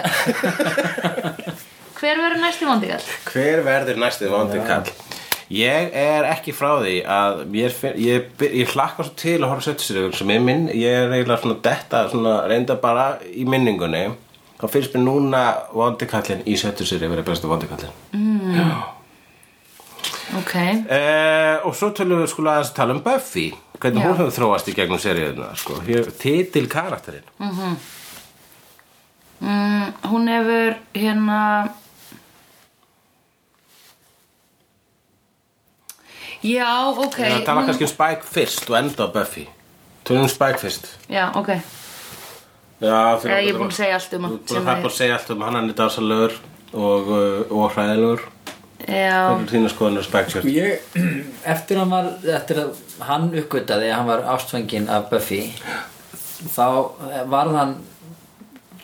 Speaker 1: (laughs) hver verður næsti vondi kall
Speaker 2: Hver verður næstu vondurkall? Ég er ekki frá því að mér finn, ég, byr- ég hlakka svo til að horfa söttisröfum sem ég minn, ég er eiginlega svona detta, svona reynda bara í minningunni þá finnst mér núna vondikallin í söttisröfum er bestu vondikallin
Speaker 1: ok,
Speaker 2: Uh, og svo tölum við sko aðeins að tala um Buffy hvernig
Speaker 1: Já.
Speaker 2: hún hefur þróast í gegnum seríuðina sko. Hér- titil karakterinn
Speaker 1: mm, hún hefur hérna já, ok
Speaker 2: okay, það tala
Speaker 1: hún-
Speaker 2: kannski um Spike fyrst og enda á Buffy tölum um Spike fyrst
Speaker 1: já, ok,
Speaker 2: Já,
Speaker 1: Já, ég er búin að segja allt um hann,
Speaker 2: hann
Speaker 1: sem
Speaker 2: Það er
Speaker 1: að-
Speaker 2: búin að segja allt um hann, hann er dásalögur og, uh, og hræðilegur
Speaker 1: já
Speaker 2: Hvernig þínu skoðanur um Spike fyrst?
Speaker 4: Ég, (clears throat) eftir hann var eftir að hann uppgötaði að hann var ástfangin af Buffy þá var hann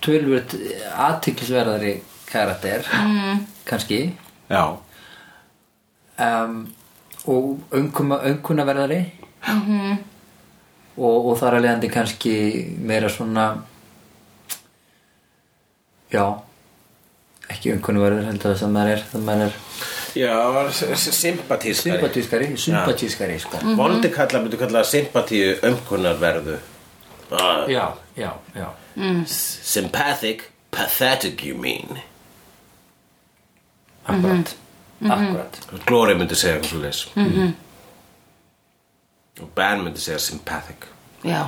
Speaker 4: tölvöld aðtiklisverðari karakter mm. kannski
Speaker 2: Já,
Speaker 4: um, og öngkuma, öngkunaverðari mm og, og þar að leiðandi kannski meira svona já ekki öngkunaverðar heldur þess að maður er það maður er
Speaker 2: Já sympatískari
Speaker 4: sympatískari sympatískari sko
Speaker 1: Mhm.
Speaker 2: Vondi kalla, myndi kalla sympatíu umkunnarverðu uh,
Speaker 4: já, já, já
Speaker 2: Sympathic, pathetic you mean
Speaker 4: Akkurat, akkurat
Speaker 2: Glory myndi segja eitthvað svo leis
Speaker 1: Mhm.
Speaker 2: Og Ben myndi segja sympathic
Speaker 1: Já,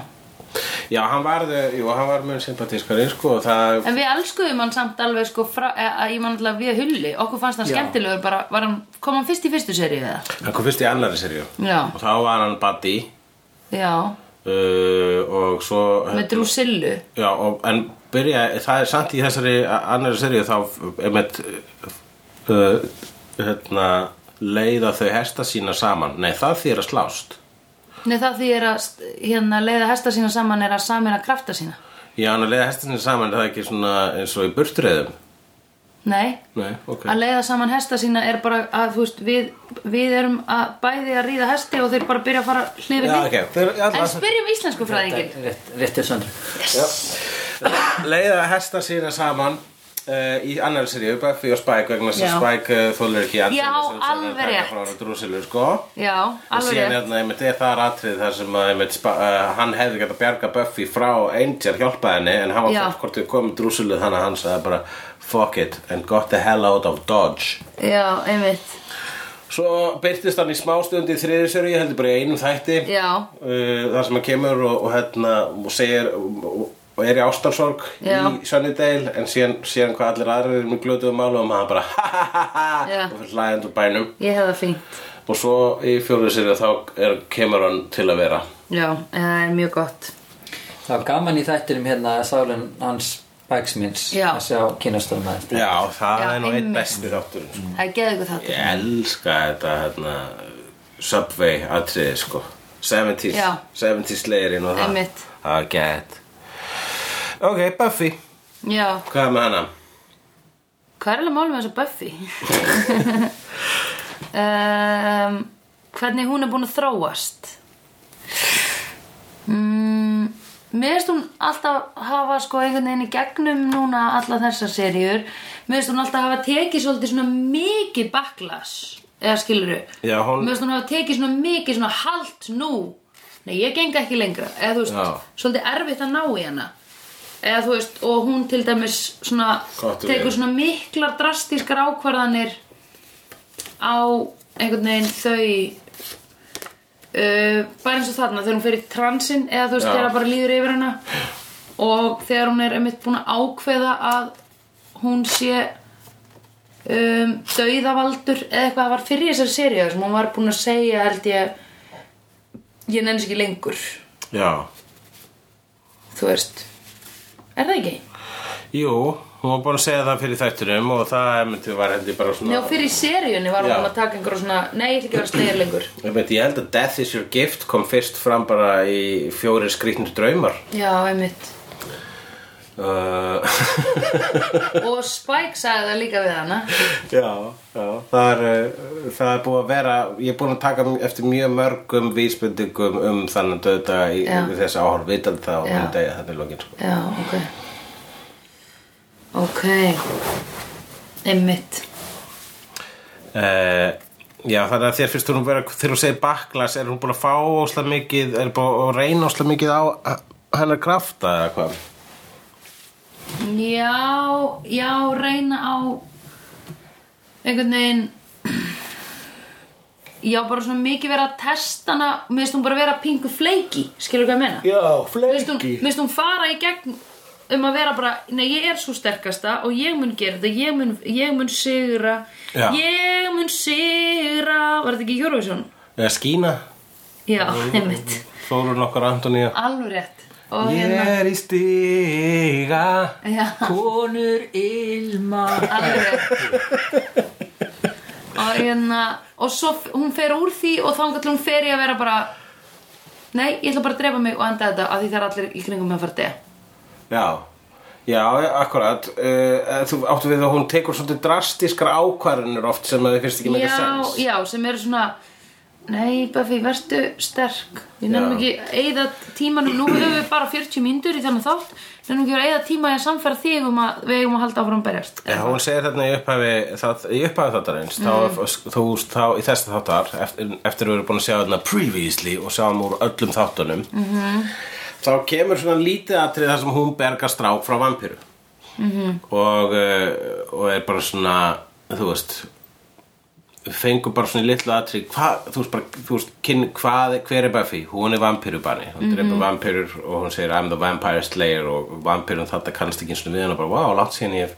Speaker 2: Já, hann var, uh, jú, hann var mjög sympatískari sko, og það,
Speaker 1: en við elskuðum hann samt alveg sko frá, e, að ég man alltaf við hulli okkur fannst hann
Speaker 4: Já.
Speaker 1: skemmtilegur bara, var hann kom hann fyrst í fyrstu seríu eða?
Speaker 2: hann kom fyrst í annari serju
Speaker 1: Já,
Speaker 2: og þá var hann Buddy
Speaker 1: já,
Speaker 2: uh, og svo
Speaker 1: með Drusillu
Speaker 2: Já, og, en byrja, það er samt í þessari annari serju þá einmitt uh, hérna, leiða þau hesta sína saman Nei, það þýr að slást
Speaker 1: Nei það því er að st- hérna leiða hesta sína saman er að samina krafta sína
Speaker 2: Já, hann að leiða hesta sína saman er það ekki svona eins og í burtreiðum
Speaker 1: Nei,
Speaker 2: Nei, ok
Speaker 1: að leiða saman hesta sína er bara að þú veist við, við erum að bæði að ríða hesti og þeir bara byrja að fara hlið við
Speaker 2: Já,
Speaker 1: hlið
Speaker 2: ok, þau eru
Speaker 1: En
Speaker 2: allar
Speaker 1: spyrjum íslensku fræðingin
Speaker 4: Rétt, rétt er söndru
Speaker 2: leiða hesta sína saman uh, í annari seríu, Buffy og Spike vegna þess
Speaker 1: Já.
Speaker 2: að Spike uh, þólar ekki
Speaker 1: Já, alveg rétt.
Speaker 2: rétt Drúsilu, sko
Speaker 1: Já,
Speaker 2: og
Speaker 1: alveg
Speaker 2: síðan
Speaker 1: rétt.
Speaker 2: hérna, einmitt, er það atrið þar sem að, einmitt, spa, uh, hann hefði gett að bjarga Buffy frá Angel hjálpa henni en hann var
Speaker 1: Já.
Speaker 2: fólk hvort við komum drúsulið þannig að hann sagði bara fuck it and got the hell out of Dodge
Speaker 1: Já, einmitt
Speaker 2: svo byrtist hann í smástund í þriðisöru ég heldur bara í einum þætti
Speaker 1: Já.
Speaker 2: uh, þar sem hann kemur og, og, hérna, og segir og, og er í ástarsorg
Speaker 1: Já.
Speaker 2: í Sunnydale en síðan, síðan hvað allir aðrir eru með glötuðu málu og maður bara (laughs) ha ha ha ha
Speaker 1: Já.
Speaker 2: og fyrir hlæðið úr bænum
Speaker 1: Ég hef það fínt
Speaker 2: og svo í fjóruðsöru þá er, kemur hann til að vera
Speaker 1: Já, það er mjög gott
Speaker 4: Það var gaman í þættinum hérna Sálin hans bæksmins
Speaker 1: Já.
Speaker 4: að sjá kynastöðum aðeins
Speaker 2: Já, það
Speaker 1: Já,
Speaker 2: er nú einn
Speaker 1: einmitt.
Speaker 2: besti þáttur sko.
Speaker 1: Það er geðugur þáttur
Speaker 2: Ég elska þetta hérna, Subway atriði sko 70s,
Speaker 1: Já.
Speaker 2: 70s leirinn og það
Speaker 1: Einmitt.
Speaker 2: Það er gett Ok, Buffy
Speaker 1: Já,
Speaker 2: Hvað er með hana?
Speaker 1: hvað er alveg málum með þessa Buffy?
Speaker 2: (laughs)
Speaker 1: um, hvernig hún er búin að þróast? Mm, mér finnst hún alltaf hafa sko einhvern veginn í gegnum núna alla þessar seríur Mér finnst hún alltaf hafa tekið svolítið svona mikið backlash Eða skilurðu
Speaker 2: Já, hún-
Speaker 1: Mér finnst hún hafa tekið svona mikið svona halt nú Nei, ég geng ekki lengra Eða þú veist,
Speaker 2: Já.
Speaker 1: svolítið erfitt að ná í hana Eða þú veist, og hún til dæmis svona
Speaker 2: Gott og
Speaker 1: tekur
Speaker 2: vel.
Speaker 1: svona miklar drastískar ákvarðanir á einhvern veginn þau uh, bara eins og þarna þegar hún fer í transinn eða þú veist
Speaker 2: Já.
Speaker 1: þegar bara líður yfir hana og þegar hún er einmitt búin að ákveða að hún sé um, döiðavaldur eða eitthvað það var fyrir þessari seríu þar sem hún var búin að segja held ég ég nenni sér ekki lengur
Speaker 2: Já,
Speaker 1: þú veist er það ekki?
Speaker 2: jú Hún var búin að segja það fyrir þættunum og það myndi var hendur bara
Speaker 1: Nei,
Speaker 2: svona
Speaker 1: og fyrir seríunni var
Speaker 2: Já.
Speaker 1: hún að taka einhverja svona Nei, ég ætla ekki að vera slegir lengur
Speaker 2: Ég veit, ég held að Death is your gift kom fyrst fram bara í fjóri skrýtnir draumar
Speaker 1: Já, einmitt
Speaker 2: uh, (laughs)
Speaker 1: Og Spike sagði það líka við hana
Speaker 2: Já, já það er, uh, það er búið að vera Ég er búin að taka eftir mjög mörgum vísbendingum um þannig döða í,
Speaker 1: Já.
Speaker 2: í þessi áhorf vitandi það og
Speaker 1: Já.
Speaker 2: myndi að þetta er lokin sko.
Speaker 1: Já, ok Ok Einmitt
Speaker 2: uh, Já, þannig að þér finnst hún vera þegar hún segir backlash, er hún búin að fá óslega mikið, er búin að reyna óslega mikið á hennar krafta eða hvað?
Speaker 1: Já, já, reyna á einhvern veginn Já, bara svona mikið vera að testa hana Mér finnst hún bara vera pingu fleiki Skilur hvað ég meina?
Speaker 2: Já,
Speaker 1: Mér finnst hún- mér finnst hún fara í gegn um að vera bara, nei ég er svo sterkasta og ég mun gera þetta, ég mun, ég mun sigra,
Speaker 2: Já.
Speaker 1: ég mun sigra, var þetta ekki Eurovision?
Speaker 2: Eða skína,
Speaker 1: Já, einmitt,
Speaker 2: Þórun okkar Antoníu
Speaker 1: alveg rétt og
Speaker 2: Ég
Speaker 1: hérna,
Speaker 2: er í stiga
Speaker 1: já,
Speaker 4: Konur ilma
Speaker 1: alveg rétt og hérna og svo f- hún fer úr því og þangar til hún fer í að vera bara nei, ég ætla bara að drepa mig og enda þetta af því það er allir í kringum mig að fara að deyja
Speaker 2: Já, já, akkurat uh, Þú áttu við að hún tekur svolítið drastískar ákvarðanir oft sem að þið finnst ekki meika
Speaker 1: já,
Speaker 2: sens
Speaker 1: já, sem eru svona Nei, Buffy, vertu sterk Við nefnum
Speaker 2: Já.
Speaker 1: ekki að eyða tímanum Nú höfum við bara 40 mínútur í þannig þátt Nefnum ekki að eyða tíma í að samfæra þig um að við eigum að halda áfram að berjast
Speaker 2: Já, hún segir þarna í upphafi, það, í upphafi þáttar eins
Speaker 1: Mm.
Speaker 2: þá, þú, þá í þessi þáttar eftir, eftir við erum búin að sjá þarna previously og sjáum úr öllum þáttunum -hmm.
Speaker 1: Mhm.
Speaker 2: þá kemur svona lítið atrið þar sem hún bergar strák frá vampíru
Speaker 1: Mhm.
Speaker 2: -hmm. og, uh, og er bara svona þú veist fengur bara svona litlu atrið hva, þú veist bara, þú veist, kyn, hvað, hver er Buffy hún er vampírubanni, hún mm -hmm. drepa vampírur og hún segir I'm the vampire slayer og vampírun þetta kannast ekki eins og við hann og bara, wow, langt síðan ég hef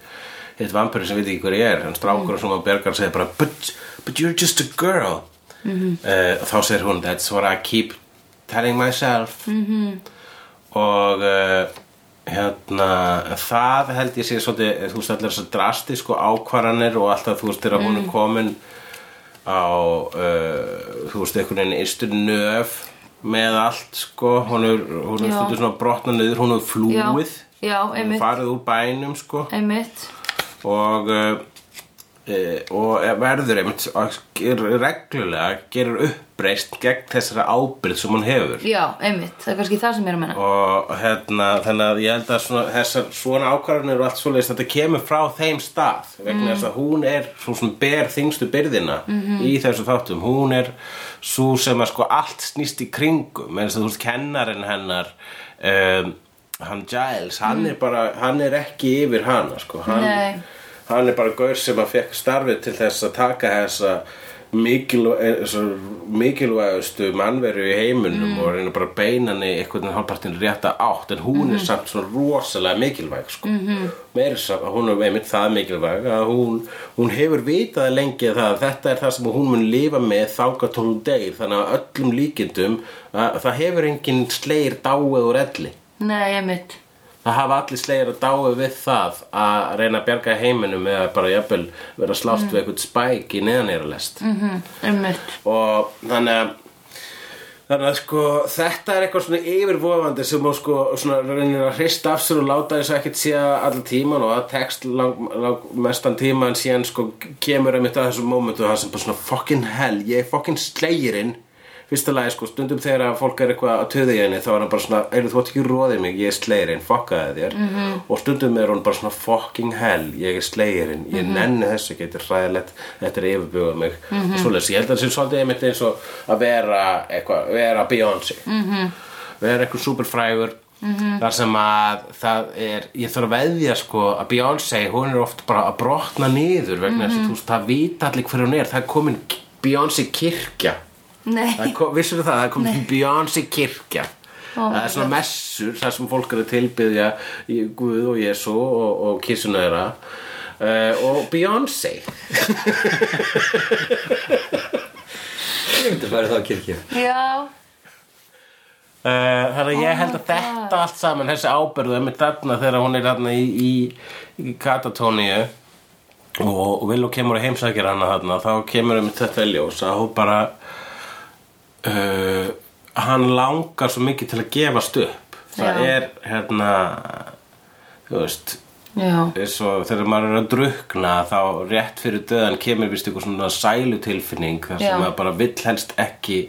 Speaker 2: hitt vampíru sem veit ekki hver ég er en strákur sem hún bergar segir bara but, but you're just a girl mm og þá segir hún, that's what I keep telling myself mm og uh, hérna, það held ég sé svolítið, eh, þú veist, allir þessar drastísku ákvarðanir og alltaf, þú veist, þegar hún
Speaker 1: Mm.
Speaker 2: er komin á uh, þú veist, einhvern veginn ystu nöf með allt sko, hún er, hún er
Speaker 1: Já.
Speaker 2: stundur svona brotna niður, hún er flúið
Speaker 1: Já, já,
Speaker 2: hún
Speaker 1: einmitt.
Speaker 2: er farið úr bænum sko
Speaker 1: Einmitt
Speaker 2: og uh, e, og verður einmitt að ger, reglulega gerir uppreist gegn þessara ábyrgð sem hún hefur
Speaker 1: Já, einmitt, það er kannski það sem ég er að menna
Speaker 2: og hérna þannig að ég held að svona, þessar svona ákvarðanir og allt svoleiðis þetta kemur frá þeim stað vegna þess að hún er svo sem ber þingstu byrðina í þessu þáttum hún er svo sem að sko allt snýst í kringum eins og þú veist kennarinn hennar um, hann Giles, hann er bara hann er ekki yfir hana sko hann,
Speaker 1: Nei.
Speaker 2: hann er bara gaur sem að fekk starfið til þess að taka þessa mikilvæ- eh, þessa mikilvægustu mannveru í heiminum og reyna bara að beina henni einhvern veginn hálfpartin rétta átt en hún er samt svona rosalega mikilvæg sko. mm -hmm. meir samt að hún er einmitt það mikilvæg að hún, hún hefur vitað lengi það að þetta er það sem hún mun lifa með þágat hún degir þannig að öllum líkindum að, það hefur enginn sleir dáið úr elli
Speaker 1: Nei, einmitt
Speaker 2: Það hafa allir slegir að dáu við það að reyna að bjarga heiminum eða bara jafnvel vera að slást við eitthvað spæk í neðanýralest. Mm.
Speaker 1: Mhm, Einmitt
Speaker 2: Og þannig að Þannig að sko, þetta er eitthvað svona yfirvofandi sem hún sko svona reynir að hrista af sér og láta þess að ekkert sé allan tíman og að text lang, lang, mestan tíman síðan sko kemur einmitt að þessum momentu og það sem bara svona fucking hell, ég er fucking slegirinn fyrsta lagi sko, stundum þegar að fólk er eitthvað að töði henni þá er hann bara svona, einu þú átt ekki róðið mig, ég er slegirinn, fuckaði þér -hmm. og stundum er hún bara svona fucking hell, ég er slegirinn, ég nenni þessu ekki, þetta er hræðilegt, þetta er yfirbugað mig og svoleiðis, ég held að það sé svolítið einmitt eins og að vera eitthvað, vera Beyoncé mm -hmm. vera eitthvað superfrægur þar sem að það er, ég þarf að veðja sko að Beyoncé, hún er oft bara að brotna niður vegna þess að þú veist, það vita allir hver hún er, það er komin Beyoncé kirkja Það
Speaker 1: Nei,
Speaker 2: er kom- Vissirðu það, það er komið til Beyoncé kirkja
Speaker 1: Ó,
Speaker 2: Það er svona messur þar sem fólk er að tilbyðja í Guð og Jésu og, og kissuna þeirra uh, og Beyoncé
Speaker 4: Ég myndi að fara þá kirkju
Speaker 1: já
Speaker 2: Uh, þannig að ég held
Speaker 1: Oh
Speaker 2: að
Speaker 1: my
Speaker 2: þetta allt saman þessi ábyrðu með þarna þegar hún er þarna í, í, í katatóníu og Villó kemur að heimsækja hana þarna þá kemur um þetta í ljós að hún bara uh, hann langar svo mikið til að gefast upp það
Speaker 1: Já.
Speaker 2: er hérna þú veist
Speaker 1: Já.
Speaker 2: eins og þegar maður er að drukna þá rétt fyrir döðan kemur vist eitthvað svona sælutilfinning þar sem
Speaker 1: Já.
Speaker 2: maður bara vill helst ekki